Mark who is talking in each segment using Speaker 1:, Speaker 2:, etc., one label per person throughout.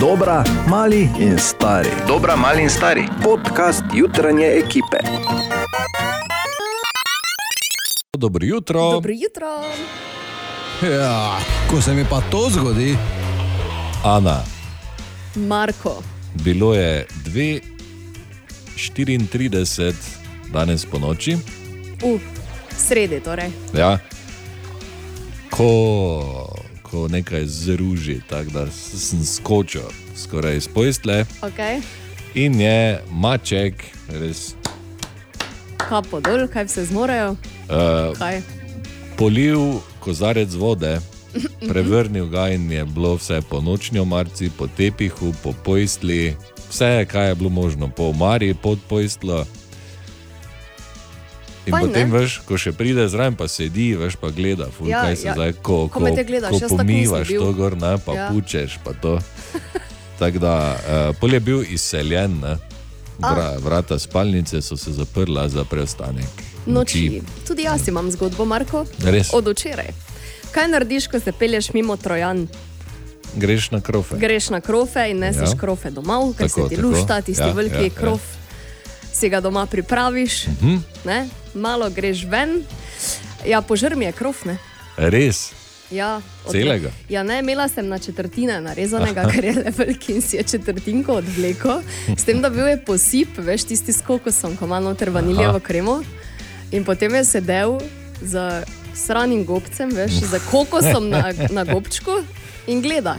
Speaker 1: Dobra, mali in stari.
Speaker 2: Dobra, mali in stari.
Speaker 1: Podcast jutranje ekipe.
Speaker 3: Dobro jutro.
Speaker 4: Dobro jutro.
Speaker 5: Ja, ko se mi pa to zgodi,
Speaker 3: Ana,
Speaker 4: Marko,
Speaker 3: bilo je 2:34 danes po noči,
Speaker 4: v sredi torej.
Speaker 3: ja. ko, ko nekaj zruži, tako da s- sem skočil skoraj iz pojstle
Speaker 4: Okay.
Speaker 3: in je maček res
Speaker 4: Kapo dol, kaj vse zmorejo.
Speaker 3: uh,
Speaker 4: Kaj?
Speaker 3: polil kozarec vode. Prevrnil ga in je bilo vse po nočni omarici, po tepihu, po pojstli, vse, kar je bilo možno, po omari, pod pojstlo. In
Speaker 4: Fajn,
Speaker 3: potem,
Speaker 4: ne?
Speaker 3: veš, ko še pride zraven, pa sedi, veš, pa gleda, ful,
Speaker 4: Ja,
Speaker 3: ja, kaj se
Speaker 4: ja.
Speaker 3: ja. zdaj, ko, ko,
Speaker 4: Komaj te gledaš,
Speaker 3: ko
Speaker 4: jaz tako nisem
Speaker 3: pomivaš
Speaker 4: bil.
Speaker 3: to gor, ne, pa
Speaker 4: Ja.
Speaker 3: ja. pučeš, pa to. Tako da, uh, pol je bil izseljen, ne.
Speaker 4: Ah.
Speaker 3: Vra, vrata spalnice so se zaprla za preostanek
Speaker 4: Noči. Tudi jaz imam zgodbo, Marko.
Speaker 3: Ja. Res?
Speaker 4: Od včeraj. Kaj narediš, ko se pelješ mimo Trojan?
Speaker 3: Greš na krofe.
Speaker 4: Greš na krofe in neseš
Speaker 3: Ja.
Speaker 4: ja. krofe domov, ker
Speaker 3: Tako,
Speaker 4: se ti
Speaker 3: tako.
Speaker 4: lušta, tisti
Speaker 3: Ja,
Speaker 4: ja, veliki
Speaker 3: ja, ja.
Speaker 4: ja, krof, ja. si ga doma pripraviš,
Speaker 3: Hm?
Speaker 4: ne? malo greš ven. Ja, požrmi je krof, ne?
Speaker 3: Res.
Speaker 4: Ja, od-
Speaker 3: Celega?
Speaker 4: Ja, ne, imela sem na četrtine narezanega, ker je velik in si je četrtinko odvleko, s tem, da bil je posip, veš, tisti s kokosom, ko ima noter vaniljevo
Speaker 3: Aha.
Speaker 4: kremo. In potem je sedel z sranim gobcem, veš, z kokosom na, na gobčku in gleda.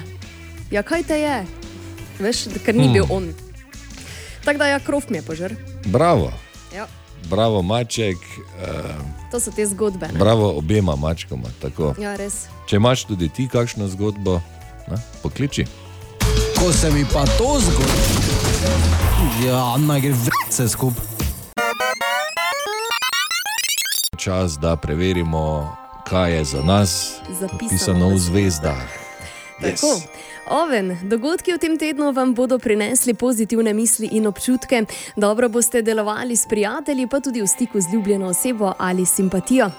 Speaker 4: Ja, kaj te je? Veš, ker ni
Speaker 3: Hmm.
Speaker 4: bil on. Tako da, ja, krov mi je požrl.
Speaker 3: Bravo,
Speaker 4: Ja,
Speaker 3: bravo maček, eh,
Speaker 4: to so te zgodbe. ne.
Speaker 3: bravo obema mačkoma. Tako.
Speaker 4: Ja, res.
Speaker 3: Če imaš tudi ti kakšno zgodbo, ne, pokliči.
Speaker 5: ko se mi pa to zgodi, ja, naj gre vse skupaj.
Speaker 3: Čas, da preverimo, kaj je za nas
Speaker 4: Zapisano
Speaker 3: pisano v
Speaker 4: v
Speaker 3: zvezdah.
Speaker 4: Tako. Oven, dogodki v tem tednu vam bodo prinesli pozitivne misli in občutke. Dobro boste delovali s prijatelji, pa tudi v stiku z ljubljeno osebo ali simpatijo.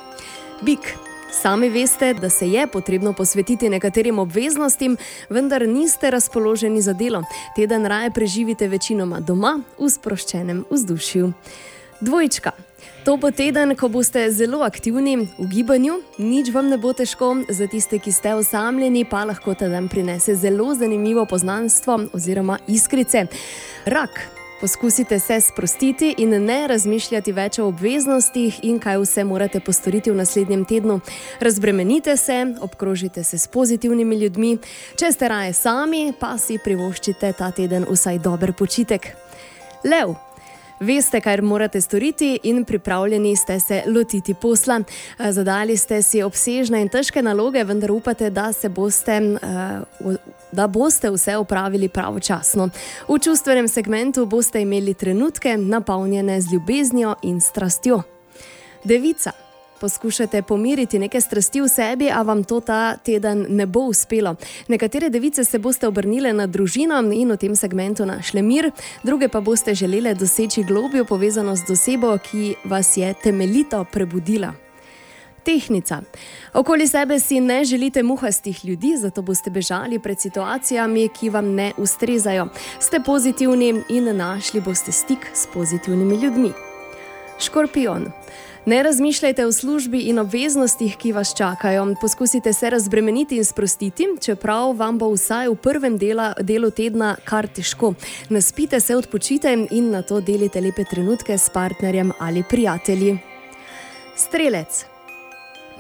Speaker 4: Bik. Sami veste, da se je potrebno posvetiti nekaterim obveznostim, vendar niste razpoloženi za delo. Teden raje preživite večinoma doma, v sproščenem vzdušju. Dvojčka. To bo teden, ko boste zelo aktivni v gibanju, nič vam ne bo težko, za tiste, ki ste osamljeni, pa lahko ta dan prinese zelo zanimivo poznanstvo oziroma iskrice. Rak. Poskusite se sprostiti in ne razmišljati več o obveznostih in kaj vse morate postoriti v naslednjem tednu. Razbremenite se, obkrožite se s pozitivnimi ljudmi, če ste raje sami, pa si privoščite ta teden vsaj dober počitek. Lev. Veste, kaj morate storiti, in pripravljeni ste se lotiti posla. Eh, Zadali ste si obsežne in težke naloge, vendar upate, da, se boste, eh, v- da boste vse opravili pravočasno. V čustvenem segmentu boste imeli trenutke, napolnjene z ljubeznijo in strastjo. Devica. Poskušate pomiriti neke strasti v sebi, a vam to ta teden ne bo uspelo. Nekatere device se boste obrnile na družino in v tem segmentu našle mir, druge pa boste želele doseči globjo povezanost z osebo, ki vas je temeljito prebudila. Tehnica. Okoli sebe si ne želite muhastih ljudi, zato boste bežali pred situacijami, ki vam ne ustrezajo. Ste pozitivni in našli boste stik s pozitivnimi ljudmi. Škorpion. Ne razmišljajte o službi in obveznostih, ki vas čakajo. Poskusite se razbremeniti in sprostiti, čeprav vam bo vsaj v prvem dela, delu tedna kar težko. Naspite se, odpočite in na to delite lepe trenutke s partnerjem ali prijatelji. Strelec.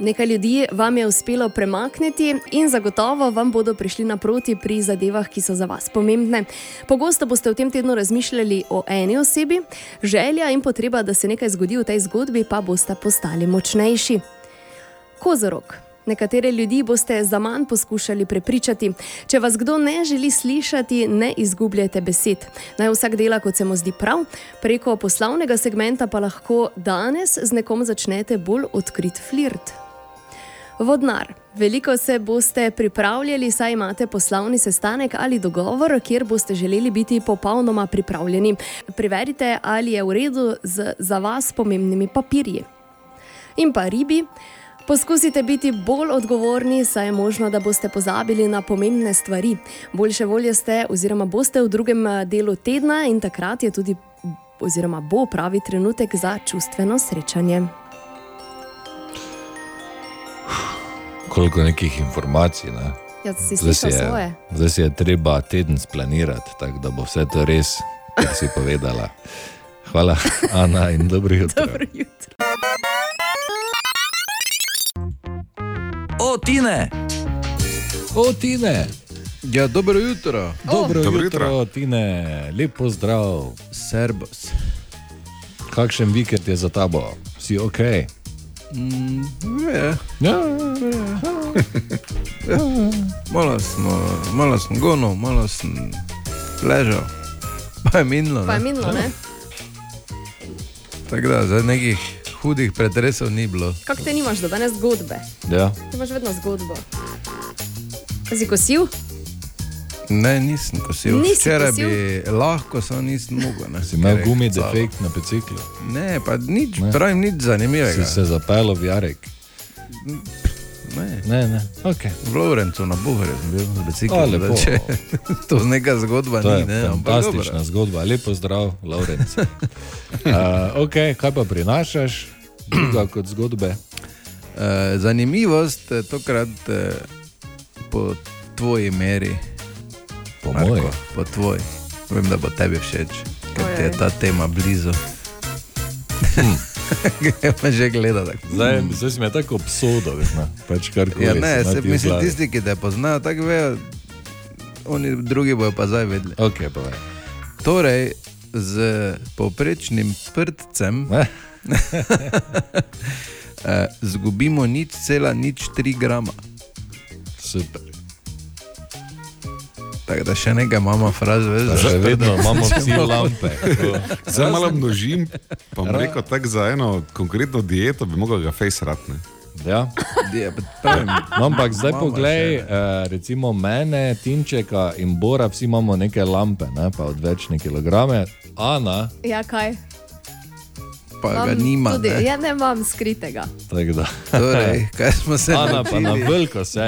Speaker 4: Nekaj ljudi vam je uspelo premakniti in zagotovo vam bodo prišli naproti pri zadevah, ki so za vas pomembne. Pogosto boste v tem tednu razmišljali o eni osebi, želja in potreba, da se nekaj zgodi v tej zgodbi, pa boste postali močnejši. Kozorog. Nekatere ljudi boste za manj poskušali prepričati. Če vas kdo ne želi slišati, ne izgubljajte besed. Naj vsak dela, kot se mu zdi prav, preko poslovnega segmenta pa lahko danes z nekom začnete bolj odkrit flirt. Vodnar. Veliko se boste pripravljali, saj imate poslovni sestanek ali dogovor, kjer boste želeli biti popolnoma pripravljeni. Preverite, ali je v redu z za vas pomembnimi papirji in pa ribi. Poskusite biti bolj odgovorni, saj je možno, da boste pozabili na pomembne stvari. Boljše volje ste, oziroma boste v drugem eh, delu tedna in takrat je tudi, oziroma bo pravi trenutek za čustveno srečanje.
Speaker 3: Koliko nekih informacij, ne?
Speaker 4: Jaz Ja, si
Speaker 3: Zdaj si
Speaker 4: slišal
Speaker 3: je,
Speaker 4: svoje.
Speaker 3: zdaj si je treba teden splanirati, tako da bo vse to res, kar si povedala. Hvala, Ana, in dobro jutro.
Speaker 4: Dobro jutro.
Speaker 1: O, Tine!
Speaker 3: O, Tine,
Speaker 2: Ja, dobro jutro,
Speaker 3: Oh. dobro,
Speaker 6: Dobro
Speaker 3: dobro jutro,
Speaker 6: jutro.
Speaker 3: jutro, Tine, lepo zdrav.
Speaker 2: Serbos.
Speaker 3: Kakšen vikend je za tabo? Si ok? Mm,
Speaker 2: Je,
Speaker 3: Ja,
Speaker 2: malo, smo, malo sem gonil, malo sem ležal, pa je minilo.
Speaker 4: Pa je
Speaker 2: ne.
Speaker 4: minilo, ne?
Speaker 2: Tako da za nekih hudih pretresov ni bilo.
Speaker 4: Kako te nimaš do danes zgodbe?
Speaker 3: ja.
Speaker 4: Ti imaš vedno zgodbo. Si kosil?
Speaker 2: Ne, nisem kosil.
Speaker 4: Nisi
Speaker 2: Včeraj
Speaker 4: kosil?
Speaker 2: bi lahko, samo nisem mogel. Ne,
Speaker 3: Si imel
Speaker 2: Ker je
Speaker 3: gumi
Speaker 2: kacalo.
Speaker 3: defekt na biciklu,
Speaker 2: Ne, pa nič,
Speaker 3: Ne.
Speaker 2: ne. pravim, nič
Speaker 3: si
Speaker 2: zanimivega.
Speaker 3: se zapeljal v Jarek.
Speaker 2: Ne,
Speaker 3: Ne, ne, ok.
Speaker 2: V Lovrencu na Buharju sem bil z
Speaker 3: A,
Speaker 2: biciklom.
Speaker 3: lepo.
Speaker 2: Če, to neka zgodba
Speaker 3: To
Speaker 2: ni,
Speaker 3: je
Speaker 2: ne, ampak
Speaker 3: fantastična
Speaker 2: dobro.
Speaker 3: dobra. zgodba, lepo zdrav, Laurenc. Uh, ok, kaj pa prinašaš, druga kot zgodbe?
Speaker 2: Eh, zanimivost eh, tokrat eh, po tvoji meri.
Speaker 3: Po
Speaker 2: Marko,
Speaker 3: mojem.
Speaker 2: po tvoji. Vem, da bo tebi všeč, ker ti je
Speaker 4: Ojej.
Speaker 2: ta tema blizu.
Speaker 3: Hm.
Speaker 2: Me Ja, že gleda tako.
Speaker 3: Zdaj, zdaj si me tako obsodil, veš, ne? pač kar koli.
Speaker 2: Ja, ne, se, mislim,
Speaker 3: tisti.
Speaker 2: tisti, ki te poznajo, tako vejo, oni drugi bojo pa zdaj vedeli.
Speaker 3: Ok, povej.
Speaker 2: Torej, z povprečnim prdcem
Speaker 3: Ne?
Speaker 2: eh, zgubimo nič cela nič 3 grama.
Speaker 3: Super.
Speaker 2: Tako da še nekaj imamo fraz, veš,
Speaker 3: Da
Speaker 2: da
Speaker 3: Še vedno imamo vsi lampe. tako.
Speaker 6: Zdaj malo množim, pa bom rekel tako za eno konkretno dieto bi mogel ga face ratne.
Speaker 3: Ja.
Speaker 2: je pravim.
Speaker 3: No, ampak zdaj
Speaker 2: Mama
Speaker 3: poglej, eh,
Speaker 2: še,
Speaker 3: recimo mene, Tinčeka in Bora, vsi imamo neke lampe, ne? pa odvečne kilograme. Ana,
Speaker 4: Ja, kaj?
Speaker 2: Pa ga nima.
Speaker 4: Tudi,
Speaker 2: ne.
Speaker 4: ja, ne imam skritega.
Speaker 3: tako da.
Speaker 2: Torej, kaj smo se
Speaker 3: Ana pa na
Speaker 2: naučili?
Speaker 3: veliko se.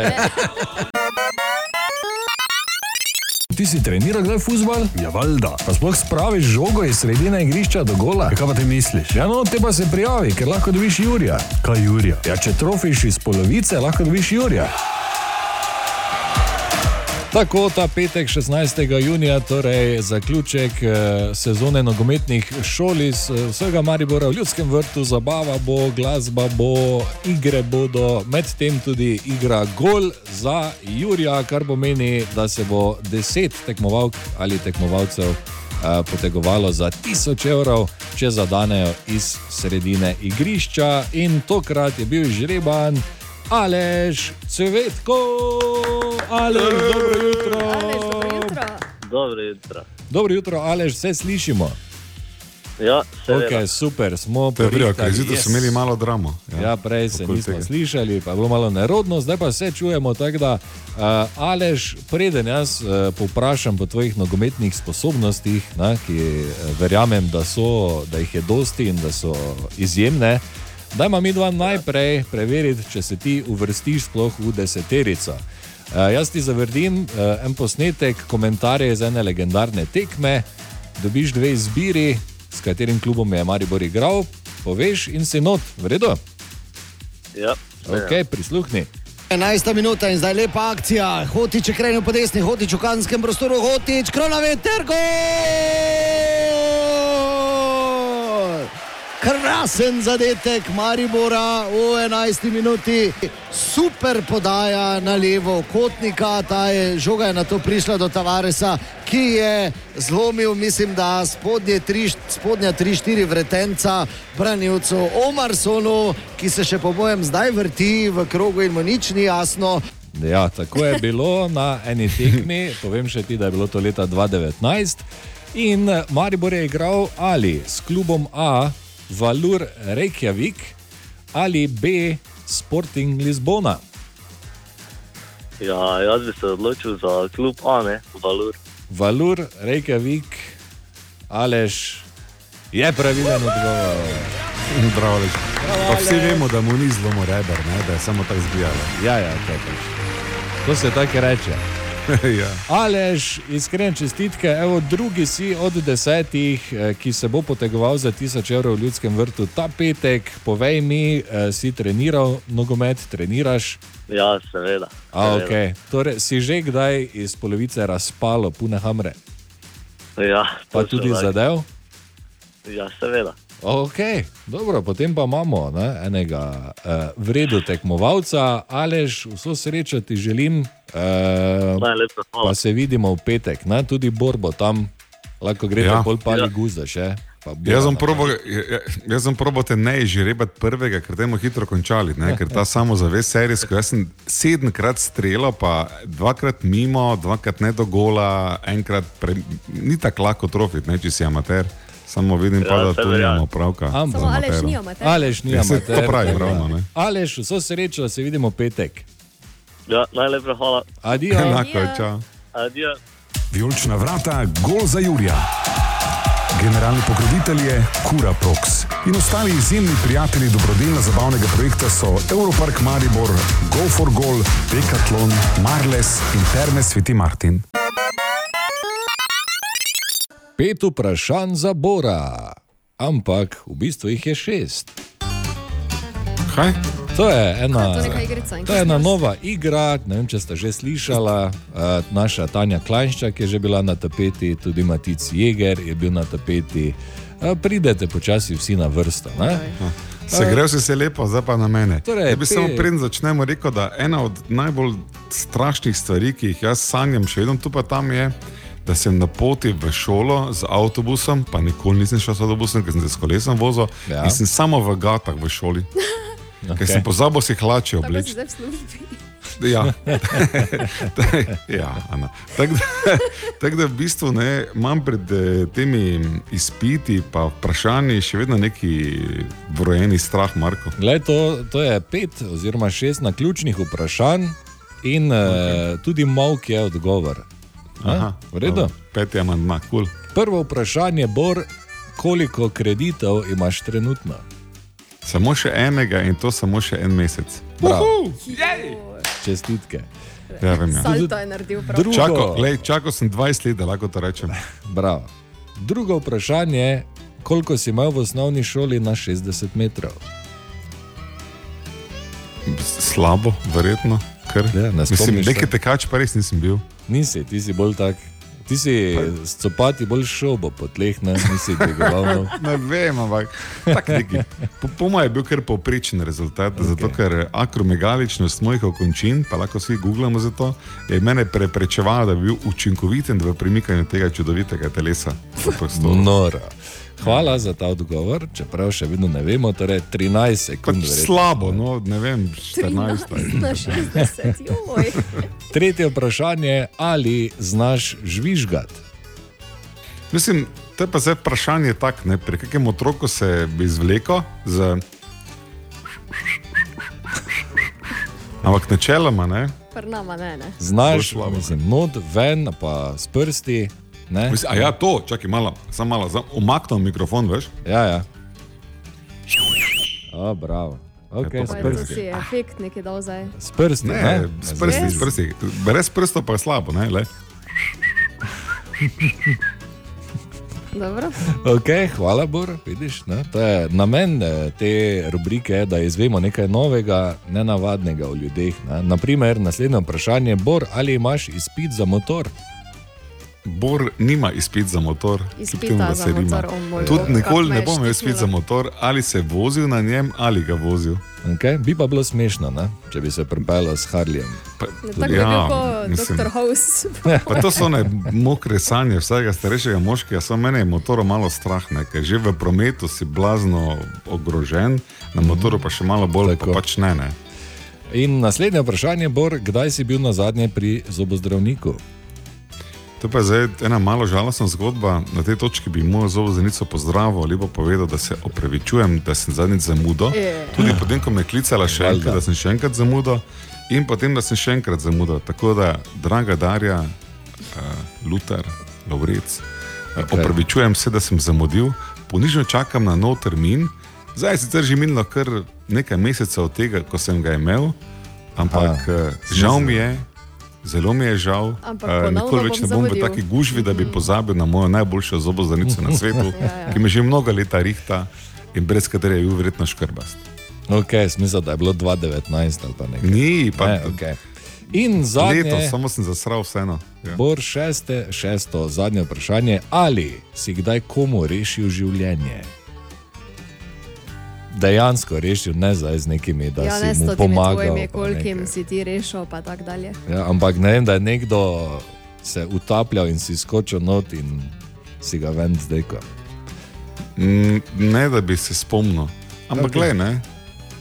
Speaker 5: Ti si treniral kdaj fuzbal? Ja, valjda. Pa sploh spraviš žogo iz sredine igrišča do gola? Ja, kaj pa ti misliš? Ja, no, te pa se prijavi, ker lahko dobiš Jurija. Kaj Jurija? Ja, če trofiš iz polovice, lahko dobiš Jurija.
Speaker 3: Tako ta petek 16. junija, torej zaključek eh, sezone nogometnih šol iz eh, vsega Maribora v Ljudskem vrtu, zabava bo, glasba bo, igre bodo, medtem tudi igra gol za Jurija, kar pomeni, da se bo deset tekmovalk ali tekmovalcev eh, potegovalo za 1000 evrov, če zadanejo iz sredine igrišča in tokrat je bil žreban. Alež, cvetko, alež, dobro jutro.
Speaker 4: Aleš, dobro jutro.
Speaker 7: Dobro jutro.
Speaker 3: Dobro jutro, alež, vse slišimo.
Speaker 7: Ja, okay.
Speaker 3: Okay, super, smo
Speaker 6: To je bilo,
Speaker 3: porihtali,
Speaker 6: ker zjutraj
Speaker 3: yes.
Speaker 6: so imeli malo dramo.
Speaker 3: Ja, prej se
Speaker 6: okoli
Speaker 3: nismo
Speaker 6: tega.
Speaker 3: slišali, pa je bilo malo nerodno, zdaj pa vse čujemo. Tako da, uh, Alež, preden jaz uh, povprašam po tvojih nogometnih sposobnostih, na, ki uh, verjamem, da, so, da jih je dosti in da so izjemne, da ima mi dva najprej preveriti, če se ti uvrstiš sploh v deseterico. Uh, jaz ti zavrdim uh, en posnetek, komentarje iz ene legendarne tekme dobiš dve izbiri, s katerim klubom je Maribor igral, poveš in si not, v redu,
Speaker 7: ja,
Speaker 3: ok, prisluhni.
Speaker 8: 11 minuta in zdaj lepa akcija. Hotič je krenil po desni, hotič v kanskem prostoru, hotič kronaveter, gol! Krasen zadetek Maribora v 11 minuti, super podaja na levo kotnika, ta je žoga je na to prišla do Tavaresa, ki je zlomil, mislim, da spodnje tri, spodnja 3-4 vretenca branilcu Omarsonu, ki se še po mojem zdaj vrti v krogu in mu nič ni jasno.
Speaker 3: Ja, tako je bilo na eni tekmi, povem še ti, da je bilo to leta 2019. In eh, Maribor je igral ali s klubom A, Valur Reykjavik, ali B, Sporting Lizbona.
Speaker 7: ja, jaz bi se odločil za klub A, ne Valur.
Speaker 3: Valur Reykjavik, Alež je pravilen odgovor.
Speaker 6: Zdravo, lepo. Pa vsi vemo, da mu ni zlomo reber, ne? da je samo tako zbijalo.
Speaker 3: Ja, ja, to je pač. To se tako reče.
Speaker 6: ja.
Speaker 3: Alež, iskrene čestitke, evo drugi si od desetih, eh, ki se bo potegoval za 1000 evrov v ljudskem vrtu ta petek. Povej mi, eh, si treniral nogomet, treniraš?
Speaker 7: Ja, seveda.
Speaker 3: A,
Speaker 7: seveda.
Speaker 3: okay. torej, si že kdaj iz polovice razpalo, pune hamre,
Speaker 7: Ja,
Speaker 3: pa
Speaker 7: točno
Speaker 3: tudi
Speaker 7: tako.
Speaker 3: zadev?
Speaker 7: Ja, seveda.
Speaker 3: Ok, dobro, potem pa imamo ne, enega uh, vrednega tekmovalca, alež, vso srečo ti želim. Uh,
Speaker 7: Najlepša hvala.
Speaker 3: pa se vidimo v petek, ne? tudi borbo tam, lahko greš
Speaker 6: Ja.
Speaker 3: ja. bolj pali ja.
Speaker 7: Ja.
Speaker 3: guzda še. pa bora
Speaker 6: Jaz sem
Speaker 3: naprej.
Speaker 6: probal- ja, ja, Jaz sem probal te ne izžrebati prvega, ker temo hitro končali, ne? ker ta samozavest serijsko. Jaz sem sedemkrat streljal, pa dvakrat mimo, dvakrat ne do gola, enkrat pre... ni tako lahko trofit, ne, če si amater. Samo vidim, ja, pa, da
Speaker 7: saj
Speaker 6: tu
Speaker 7: verjamem.
Speaker 6: imamo opravka.
Speaker 3: Ampak.
Speaker 6: z
Speaker 4: Samo alež
Speaker 6: amaterom.
Speaker 4: ni amater.
Speaker 3: Aleš, ni
Speaker 6: Ja, saj
Speaker 3: amater.
Speaker 6: to pravim,
Speaker 3: tako da.
Speaker 6: ravno, ne.
Speaker 3: Aleš, vso srečo, se vidimo v petek.
Speaker 7: Ja, najlepša hvala.
Speaker 3: Adijo.
Speaker 6: Enako je, čau.
Speaker 7: Adijo.
Speaker 5: Vijolična vrata, gol za Jurija. Generalni pokrovitelj je Kura Prox. In ostali izjemni prijatelji dobrodelno zabavnega projekta so Europark Maribor, Go for Goal, Decathlon, Marles in Terme Sveti Martin.
Speaker 3: Pet vprašanj za Bora, ampak v bistvu jih je šest.
Speaker 6: Kaj?
Speaker 3: To je ena.
Speaker 4: To je neka igrica. in
Speaker 3: ja. To je ena
Speaker 4: kosmos.
Speaker 3: nova igra, ne vem, če ste že slišala. eh, Naša Tanja Klajnščak je že bila na tapeti, tudi Matic Jeger je bil na tapeti. Eh, Pridete počasi vsi na vrsto. Ne?
Speaker 6: Se greš se lepo, zdaj pa na mene.
Speaker 3: Torej,
Speaker 6: Torej, ja bi
Speaker 3: pe-
Speaker 6: samo pred začnemo rekel, da ena od najbolj strašnih stvari, ki jih jaz sanjam, še vedno tu pa tam je, da sem na poti v šolo z avtobusom, pa nikoli nisem šel z avtobusom, ker sem se s kolesom vozil
Speaker 3: Ja.
Speaker 6: ja. in sem samo v gatah v šoli. Okay. Ker sem pozabil si hlače
Speaker 4: Tako si
Speaker 6: obleči.
Speaker 4: zdaj v službi.
Speaker 6: Ja. ja, Ana. Tako da, tak da v bistvu ne, imam pred eh, temi izpiti, pa vprašanji še vedno neki vrojeni strah, Marko.
Speaker 3: Glej, to, to je pet oziroma šest na ključnih vprašanj in okay. tudi mavk je odgovor. Ne? V redu.
Speaker 6: dobro. Peti amandma, kul. Cool.
Speaker 3: Prvo vprašanje, Bor, koliko kreditov imaš trenutno?
Speaker 6: Samo še enega in to samo še en mesec.
Speaker 3: Bravo. Čestitke.
Speaker 6: Ja, vem, ja.
Speaker 4: Salto je naredil prav.
Speaker 3: Drugo,
Speaker 6: Čako, glej, čakal sem 20 let, da lahko to rečem.
Speaker 3: Bravo. Drugo vprašanje, koliko si imel v osnovni šoli na 60 metrov?
Speaker 6: Slabo, verjetno. Ker,
Speaker 3: Ja, ne
Speaker 6: Mislim,
Speaker 3: spomniš se.
Speaker 6: nekaj tekač pa res nisem bil.
Speaker 3: Nisi, ti si bolj tak. Ti si s copati bolj šobo po tleh, ne nisi dvigoval. no.
Speaker 6: Ne vem, ampak tako neki. Po, po mojem je bil kar povprečen rezultat, okay. zato ker akromegaličnost mojih okončin, pa lahko vsi googlamo za to, je mene preprečevala, da bi bil učinkoviten v premikanju tega čudovitega telesa. v prostoru.
Speaker 3: Noro. Hvala za ta odgovor, čeprav še vedno ne vemo, torej 13
Speaker 6: Pač
Speaker 3: sekund. verjetno.
Speaker 6: slabo, no, ne vem, 14.
Speaker 4: 13 na 60, joj.
Speaker 3: Tretje vprašanje, ali znaš žvižgati?
Speaker 6: Mislim, to je pa zdaj vprašanje tak, ne, pri kakem otroku se bi izvleko z... Ampak načeloma, ne?
Speaker 4: Prnama ne, ne.
Speaker 6: Bolj
Speaker 3: Znaš,
Speaker 6: slabo.
Speaker 3: mislim, not ven, pa s prsti. Ne?
Speaker 6: Mislim, a ja, to, čakaj malo, samo malo, za- umaknem mikrofon, veš?
Speaker 3: Ja, ja. O, bravo.
Speaker 6: Ja,
Speaker 3: Okay, s
Speaker 6: pa je
Speaker 4: Pojdi,
Speaker 3: prsti.
Speaker 4: si je efekt neki dal zdaj.
Speaker 3: S prsti, ne,
Speaker 6: Ne, s prsti,
Speaker 4: Res?
Speaker 6: s prsti. Brez prstov pa je slabo, ne? Le.
Speaker 4: Dobro.
Speaker 3: Okay, hvala, Bor, vidiš. Ne? To je namen eh, te rubrike, je, da izvemo nekaj novega, nenavadnega o ljudeh. Ne? Naprimer, naslednje vprašanje, Bor, ali imaš izpit za motor?
Speaker 6: Bor nima izpit za motor, kljub
Speaker 4: Izpita
Speaker 6: temu, da
Speaker 4: za
Speaker 6: se
Speaker 4: motor,
Speaker 6: rima.
Speaker 4: o moj bog,
Speaker 6: Tudi
Speaker 4: kako
Speaker 6: nikoli
Speaker 4: me
Speaker 6: ne
Speaker 4: je
Speaker 6: bom imel izpit
Speaker 4: šteknilo.
Speaker 6: za motor, ali se vozil na njem, ali ga vozil.
Speaker 3: Okay? Bi pa bilo smešno, ne? če bi se pripeljal s Harljem.
Speaker 6: Pa,
Speaker 4: No, Tako je
Speaker 3: Ja,
Speaker 4: bil kot
Speaker 6: Ja, mislim.
Speaker 4: doktor House.
Speaker 6: Pa to so ne mokre sanje vsakega starejšega moškega, samo mene je motor malo strah, ne, ker že v prometu si blazno ogrožen, na motoru pa še malo bolj,
Speaker 3: Tako.
Speaker 6: pa pač ne. ne.
Speaker 3: In naslednje vprašanje, Bor, kdaj si bil na zadnje pri zobozdravniku?
Speaker 6: To pa je zdaj ena malo žalostna zgodba. Na tej točki bi mojo zobozdravnico pozdravil, lepo povedal, da se opravičujem, da sem zadnjič zamudil.
Speaker 4: Je.
Speaker 6: Tudi potem, ko me je klicala še
Speaker 3: Valjda.
Speaker 6: enkrat, da sem še enkrat zamudil in potem, da sem še enkrat zamudil. Tako da, draga Darja, uh, Lutar, Lavrec, okay. opravičujem se, da sem zamudil, ponižno čakam na nov termin. Zdaj je sicer že minilo kar nekaj mesecev od tega, ko sem ga imel, ampak A, žal mi je, zelo mi je žal.
Speaker 4: Ampak
Speaker 6: eh,
Speaker 4: ponovno
Speaker 6: nikoli
Speaker 4: bom
Speaker 6: več ne bom v
Speaker 4: zamudil. Mhm.
Speaker 6: taki gužvi, da bi pozabil na mojo najboljšo zobozdanico na svetu,
Speaker 4: Ja,
Speaker 6: ki me že mnoga leta rihta in brez katere je bil verjetno škrbast.
Speaker 3: Okay, smisel, da je bilo 2019 ali pa nekaj.
Speaker 6: Ni pa
Speaker 3: Ne,
Speaker 6: ne,
Speaker 3: okay. In zadnje,
Speaker 6: leto, samo sem zasral vseeno. Ja.
Speaker 3: Bor šeste, šesto, zadnje vprašanje, ali si kdaj komu rešil življenje? Dejansko rešil, ne zdaj z nekimi, da
Speaker 4: Ja,
Speaker 3: si
Speaker 4: ne s
Speaker 3: mu
Speaker 4: temi
Speaker 3: pomagal.
Speaker 4: tvojimi,
Speaker 3: pa
Speaker 4: kolikim
Speaker 3: nekaj.
Speaker 4: si ti rešil, pa tako dalje.
Speaker 3: Ja, ampak ne vem, da je nekdo se utapljal in si skočil not in si ga ven zdaj.
Speaker 6: Mm, Ne, da bi se spomnil. Ampak glej, ne.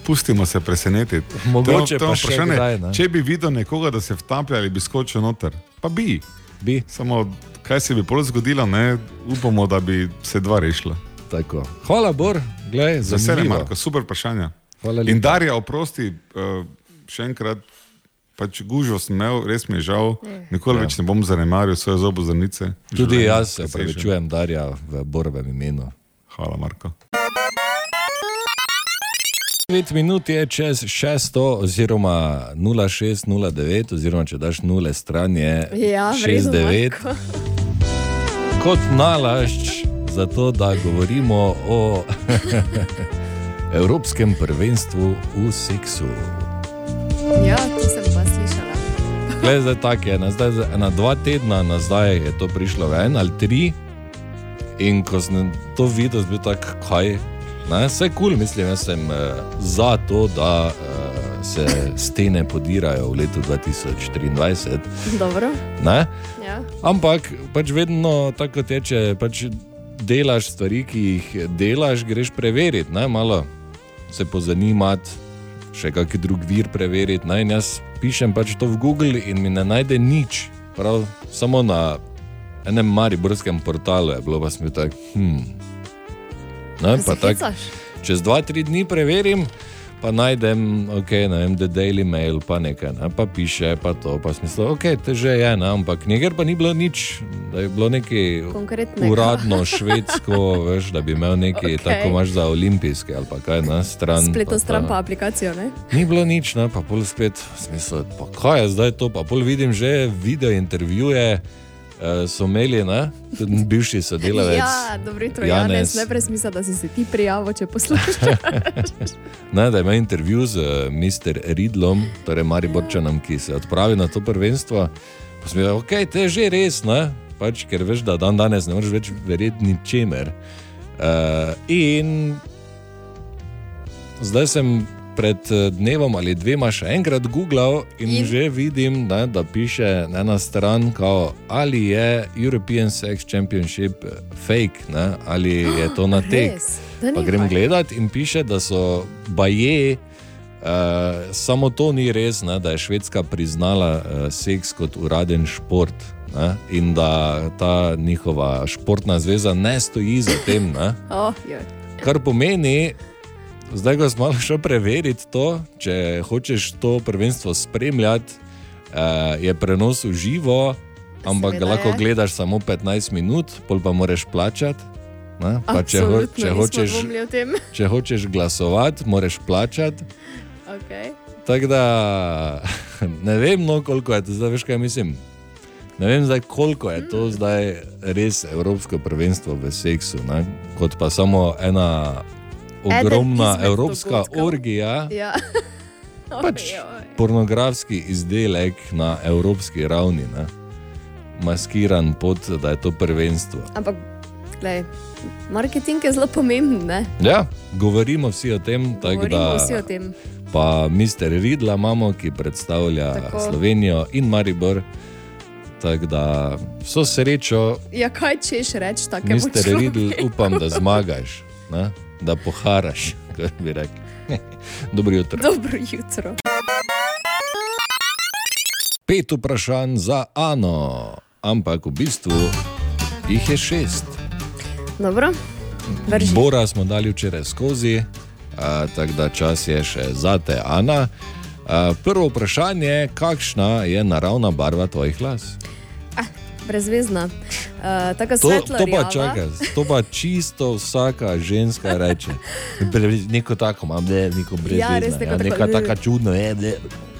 Speaker 6: Pustimo se presenetiti.
Speaker 3: Mogoče
Speaker 6: to, to je
Speaker 3: pa še
Speaker 6: vprašanje,
Speaker 3: kdaj, ne.
Speaker 6: če bi videl nekoga, da se vtaplja ali bi skočil noter, pa bi.
Speaker 3: Bi
Speaker 6: Samo kaj se bi pol zgodilo, ne? upamo, da bi se dva rešila.
Speaker 3: tako. Hvala, Bor, gledaj, za
Speaker 6: Vesele,
Speaker 3: vse.
Speaker 6: Marko, super vprašanje.
Speaker 3: Hvala lepa.
Speaker 6: In Darja, oprosti, eh, še enkrat, pač gužo sem imel, res mi je žal, nikoli ja. več ne bom zanemaril svoje zobozdanice.
Speaker 3: Tudi
Speaker 6: Življenje,
Speaker 3: jaz se
Speaker 6: presežem.
Speaker 3: prevečujem, Darja, v borbem imenu.
Speaker 6: Hvala, Marko.
Speaker 3: 9 minut je čez 600, oziroma 0609, oziroma če daš nule stran, je
Speaker 4: Ja, v redu,
Speaker 3: 69. Kot nalašč, zato da govorimo o Evropskem prvenstvu v seksu.
Speaker 4: Ja, to sem pa slišala.
Speaker 3: Glej, zdaj tako je, ne, zdaj, za- ena dva tedna nazaj je to prišlo ven ali tri. In ko sem to videl, sem bil tak, kaj. Ne, vse kul, cool, mislim, jaz sem eh, za to, da eh, se stene podirajo v letu 2023.
Speaker 4: Dobro,
Speaker 3: Ne?
Speaker 4: ja.
Speaker 3: Ampak pač vedno tako kot je, če pač delaš stvari, ki jih delaš, greš preveriti, ne? malo se pozanimati, še kak drug vir preveriti. Ne? In jaz pišem pač to v Google in mi ne najde nič, prav samo na enem mariborskem portalu je bilo, pa sem bil tak, hm. Ne,
Speaker 4: Se
Speaker 3: pa tak,
Speaker 4: hecaš?
Speaker 3: čez 2-3 dni preverim, pa najdem, ok, ne vem, The Daily Mail, pa nekaj, ne, pa piše, pa to, pa smisel, ok, te že je, ne, ampak nikjer pa ni bilo nič, da je bilo neki
Speaker 4: Konkretnega.
Speaker 3: uradno švedsko, veš, da bi imel neki, okay. tako imaš za olimpijske ali pa kaj, ne, stran.
Speaker 4: Spletno
Speaker 3: ta-
Speaker 4: stran pa aplikacijo, ne?
Speaker 3: Ni bilo nič, ne, pa pol spet, smisel, pa kaj je zdaj to, pa pol vidim že video intervjuje, eh, so imeli, ne, tudi bivši sodelavec.
Speaker 4: Ja, dobro jutro, Janez.
Speaker 3: Janez.
Speaker 4: Najprej smisel, da si se ti prijavil, če poslušaš.
Speaker 3: Ne, da ima intervju z uh, Mr. Ridlom, torej Mariborčanom, ki se odpravi na to prvenstvo. Pa sem rekel, ok, to je že res, ne? Pač, ker veš, da dan danes ne moreš več verjeti ničemer. Uh, in zdaj sem pred eh, dnevom ali dvema še enkrat googlal in, in?
Speaker 4: In?
Speaker 3: že vidim, ne, da piše na ena stran, kao, ali je European Sex Championship eh, fake, ne, ali je to na tek.
Speaker 4: Res? Da
Speaker 3: Pa
Speaker 4: ni
Speaker 3: grem
Speaker 4: fajn.
Speaker 3: gledat in piše, da so baje. Uh, samo to ni res, ne, da je Švedska priznala uh, seks kot uraden šport ne, in da ta njihova športna zveza ne stoji za tem. Ne,
Speaker 4: Oh, joj.
Speaker 3: kar pomeni, zdaj ko smo malo šel preveriti to, če hočeš to prvenstvo spremljati, uh, je prenos v živo, ampak ga
Speaker 4: Seveda ja.
Speaker 3: lahko
Speaker 4: je.
Speaker 3: gledaš samo 15 minut, pol pa moraš plačati. Ne, pa če, ho,
Speaker 4: Absolutno
Speaker 3: če
Speaker 4: nismo
Speaker 3: hočeš
Speaker 4: dvomili o tem.
Speaker 3: če hočeš glasovati, moraš plačati.
Speaker 4: Okay.
Speaker 3: Tako da ne vem, no, koliko je to zdaj, veš kaj mislim. Ne vem, zdaj, koliko je
Speaker 4: Hmm.
Speaker 3: to zdaj res Evropsko prvenstvo v seksu, ne? kot pa samo ena
Speaker 4: Eden
Speaker 3: ogromna
Speaker 4: izmed
Speaker 3: evropska
Speaker 4: dogodkov.
Speaker 3: orgija,
Speaker 4: Ja.
Speaker 3: pač
Speaker 4: Oj, oj.
Speaker 3: pornografski izdelek na evropski ravni, ne? maskiran pod, da je to prvenstvo.
Speaker 4: Ampak, glej, marketing je zelo pomemben, ne?
Speaker 3: Ja, govorimo vsi o tem, tako
Speaker 4: Govorimo
Speaker 3: da.
Speaker 4: vsi o tem.
Speaker 3: pa Mister Ridla imamo, ki predstavlja
Speaker 4: Tako.
Speaker 3: Tako. Slovenijo in Maribor. Tako da vso srečo,
Speaker 4: Ja, kaj češ reči takemu
Speaker 3: Mister Ridl,
Speaker 4: človeku?
Speaker 3: upam, da zmagaš, ne? da poharaš, kot bi rekel. Dobro jutro.
Speaker 4: Dobro jutro.
Speaker 3: Pet vprašanj za Ano, ampak v bistvu jih je šest.
Speaker 4: Dobro, drži.
Speaker 3: Bora smo dali včeraj skozi, a, tako da čas je še za te, Ana. A, prvo vprašanje je, kakšna je naravna barva tvojih las?
Speaker 4: brezvezna. Uh, tako
Speaker 3: To,
Speaker 4: svetlo.
Speaker 3: to pa
Speaker 4: rjava.
Speaker 3: čaka, to pa čisto vsaka ženska reče. Bre, neko tako imam, ne, neko brez.
Speaker 4: Ja, res neko
Speaker 3: ja,
Speaker 4: tako,
Speaker 3: neka
Speaker 4: ne.
Speaker 3: taka čudna, ne, ne.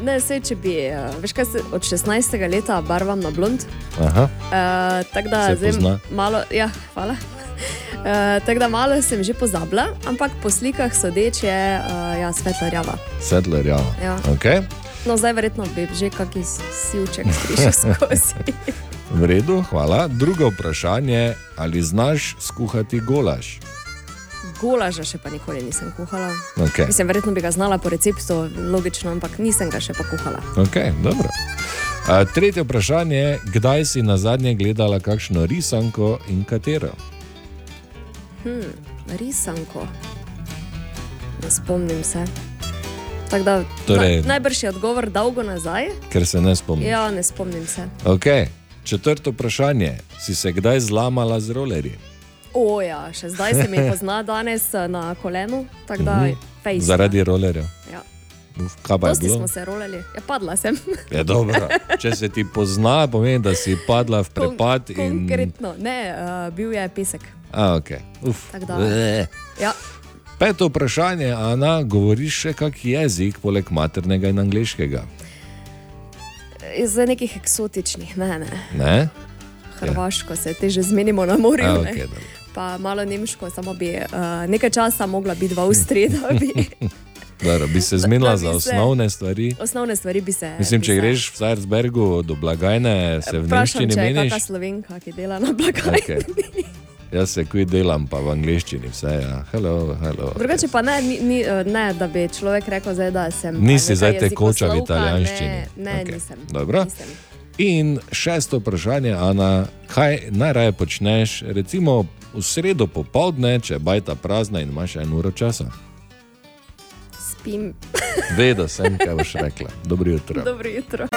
Speaker 4: Ne, sej, če bi, eh, veš kaj, se od 16. leta barvam na blond,
Speaker 3: Aha,
Speaker 4: uh, tako da
Speaker 3: Se
Speaker 4: zdaj
Speaker 3: pozna.
Speaker 4: malo, ja, hvala. Uh, tako da malo sem že pozabila, ampak po slikah sodeč je uh, ja, svetlo rjava.
Speaker 3: sedler, ja.
Speaker 4: Ja.
Speaker 3: Okay.
Speaker 4: No, zdaj verjetno bi že kakšen sivček prišel skozi.
Speaker 3: V redu, hvala. Drugo vprašanje, ali znaš skuhati golaž?
Speaker 4: Golaža še pa nikoli nisem kuhala.
Speaker 3: Okay.
Speaker 4: Mislim, verjetno bi ga znala po receptu, logično, ampak nisem ga še pa kuhala.
Speaker 3: Okay, dobro. A, tretje vprašanje je, kdaj si na zadnje gledala kakšno risanko in katero?
Speaker 4: Hm, Risanko. Ne spomnim se. Tako da,
Speaker 3: Torej-
Speaker 4: na, najbrž je odgovor dolgo nazaj.
Speaker 3: Ker se ne spomnim.
Speaker 4: Ja, ne spomnim se.
Speaker 3: Okay. Četrto vprašanje, si se kdaj zlamala z rolerji?
Speaker 4: O, ja, še zdaj se mi pozna danes eh, na kolenu, tako da fejs.
Speaker 3: Mhm. Zaradi rolerjev.
Speaker 4: Ja.
Speaker 3: Uf, Kaj pa je
Speaker 4: Dosti
Speaker 3: bilo?
Speaker 4: smo se rolali, ja, padla sem.
Speaker 3: Je dobro. Če se ti pozna, pomeni, da si padla v prepad.
Speaker 4: Kon-
Speaker 3: In...
Speaker 4: Konkretno, ne, uh, bil je pesek.
Speaker 3: A, okay. Uf.
Speaker 4: Tako da.
Speaker 3: Eh.
Speaker 4: Ja.
Speaker 3: Peto vprašanje, Ana, govoriš še kak jezik poleg maternega in angliškega?
Speaker 4: Iz nekih eksotičnih, ne, ne.
Speaker 3: Ne?
Speaker 4: Hrvaško se te že zmenimo na morju.
Speaker 3: Ja. A,
Speaker 4: ne.
Speaker 3: okay, dobro.
Speaker 4: pa malo nemško, samo bi uh, nekaj časa mogla biti v Avstriji, da bi
Speaker 3: Dobro, bi se zmenila
Speaker 4: Da bi
Speaker 3: za
Speaker 4: se-
Speaker 3: osnovne stvari.
Speaker 4: osnovne stvari bi se.
Speaker 3: Mislim,
Speaker 4: bi
Speaker 3: če
Speaker 4: se-
Speaker 3: greš v Zajercbergu do blagajne, se v
Speaker 4: Vprašam,
Speaker 3: nemščini
Speaker 4: če je
Speaker 3: meniš.
Speaker 4: kakšna slovenka, ki dela na blagajni.
Speaker 3: Okay. Jaz se kuj delam, pa v angliščini vse. Ja. Hello, hello.
Speaker 4: Drugače pa ne, ni, ni, eh, ne, da bi človek rekel, zdaj, da sem. eh,
Speaker 3: Nisi
Speaker 4: neka
Speaker 3: zdaj tekoča v
Speaker 4: jezikoslovka,
Speaker 3: italijanščini.
Speaker 4: Ne, ne
Speaker 3: Okej,
Speaker 4: okay. nisem.
Speaker 3: dobro.
Speaker 4: Nisem.
Speaker 3: In šesto vprašanje, Ana, kaj najraje počneš, recimo v sredo popovdne, če je bajta prazna in imaš eno uro časa?
Speaker 4: Spim,
Speaker 3: Vedela sem, kaj boš rekla. Dobro jutro.
Speaker 4: dobro jutro.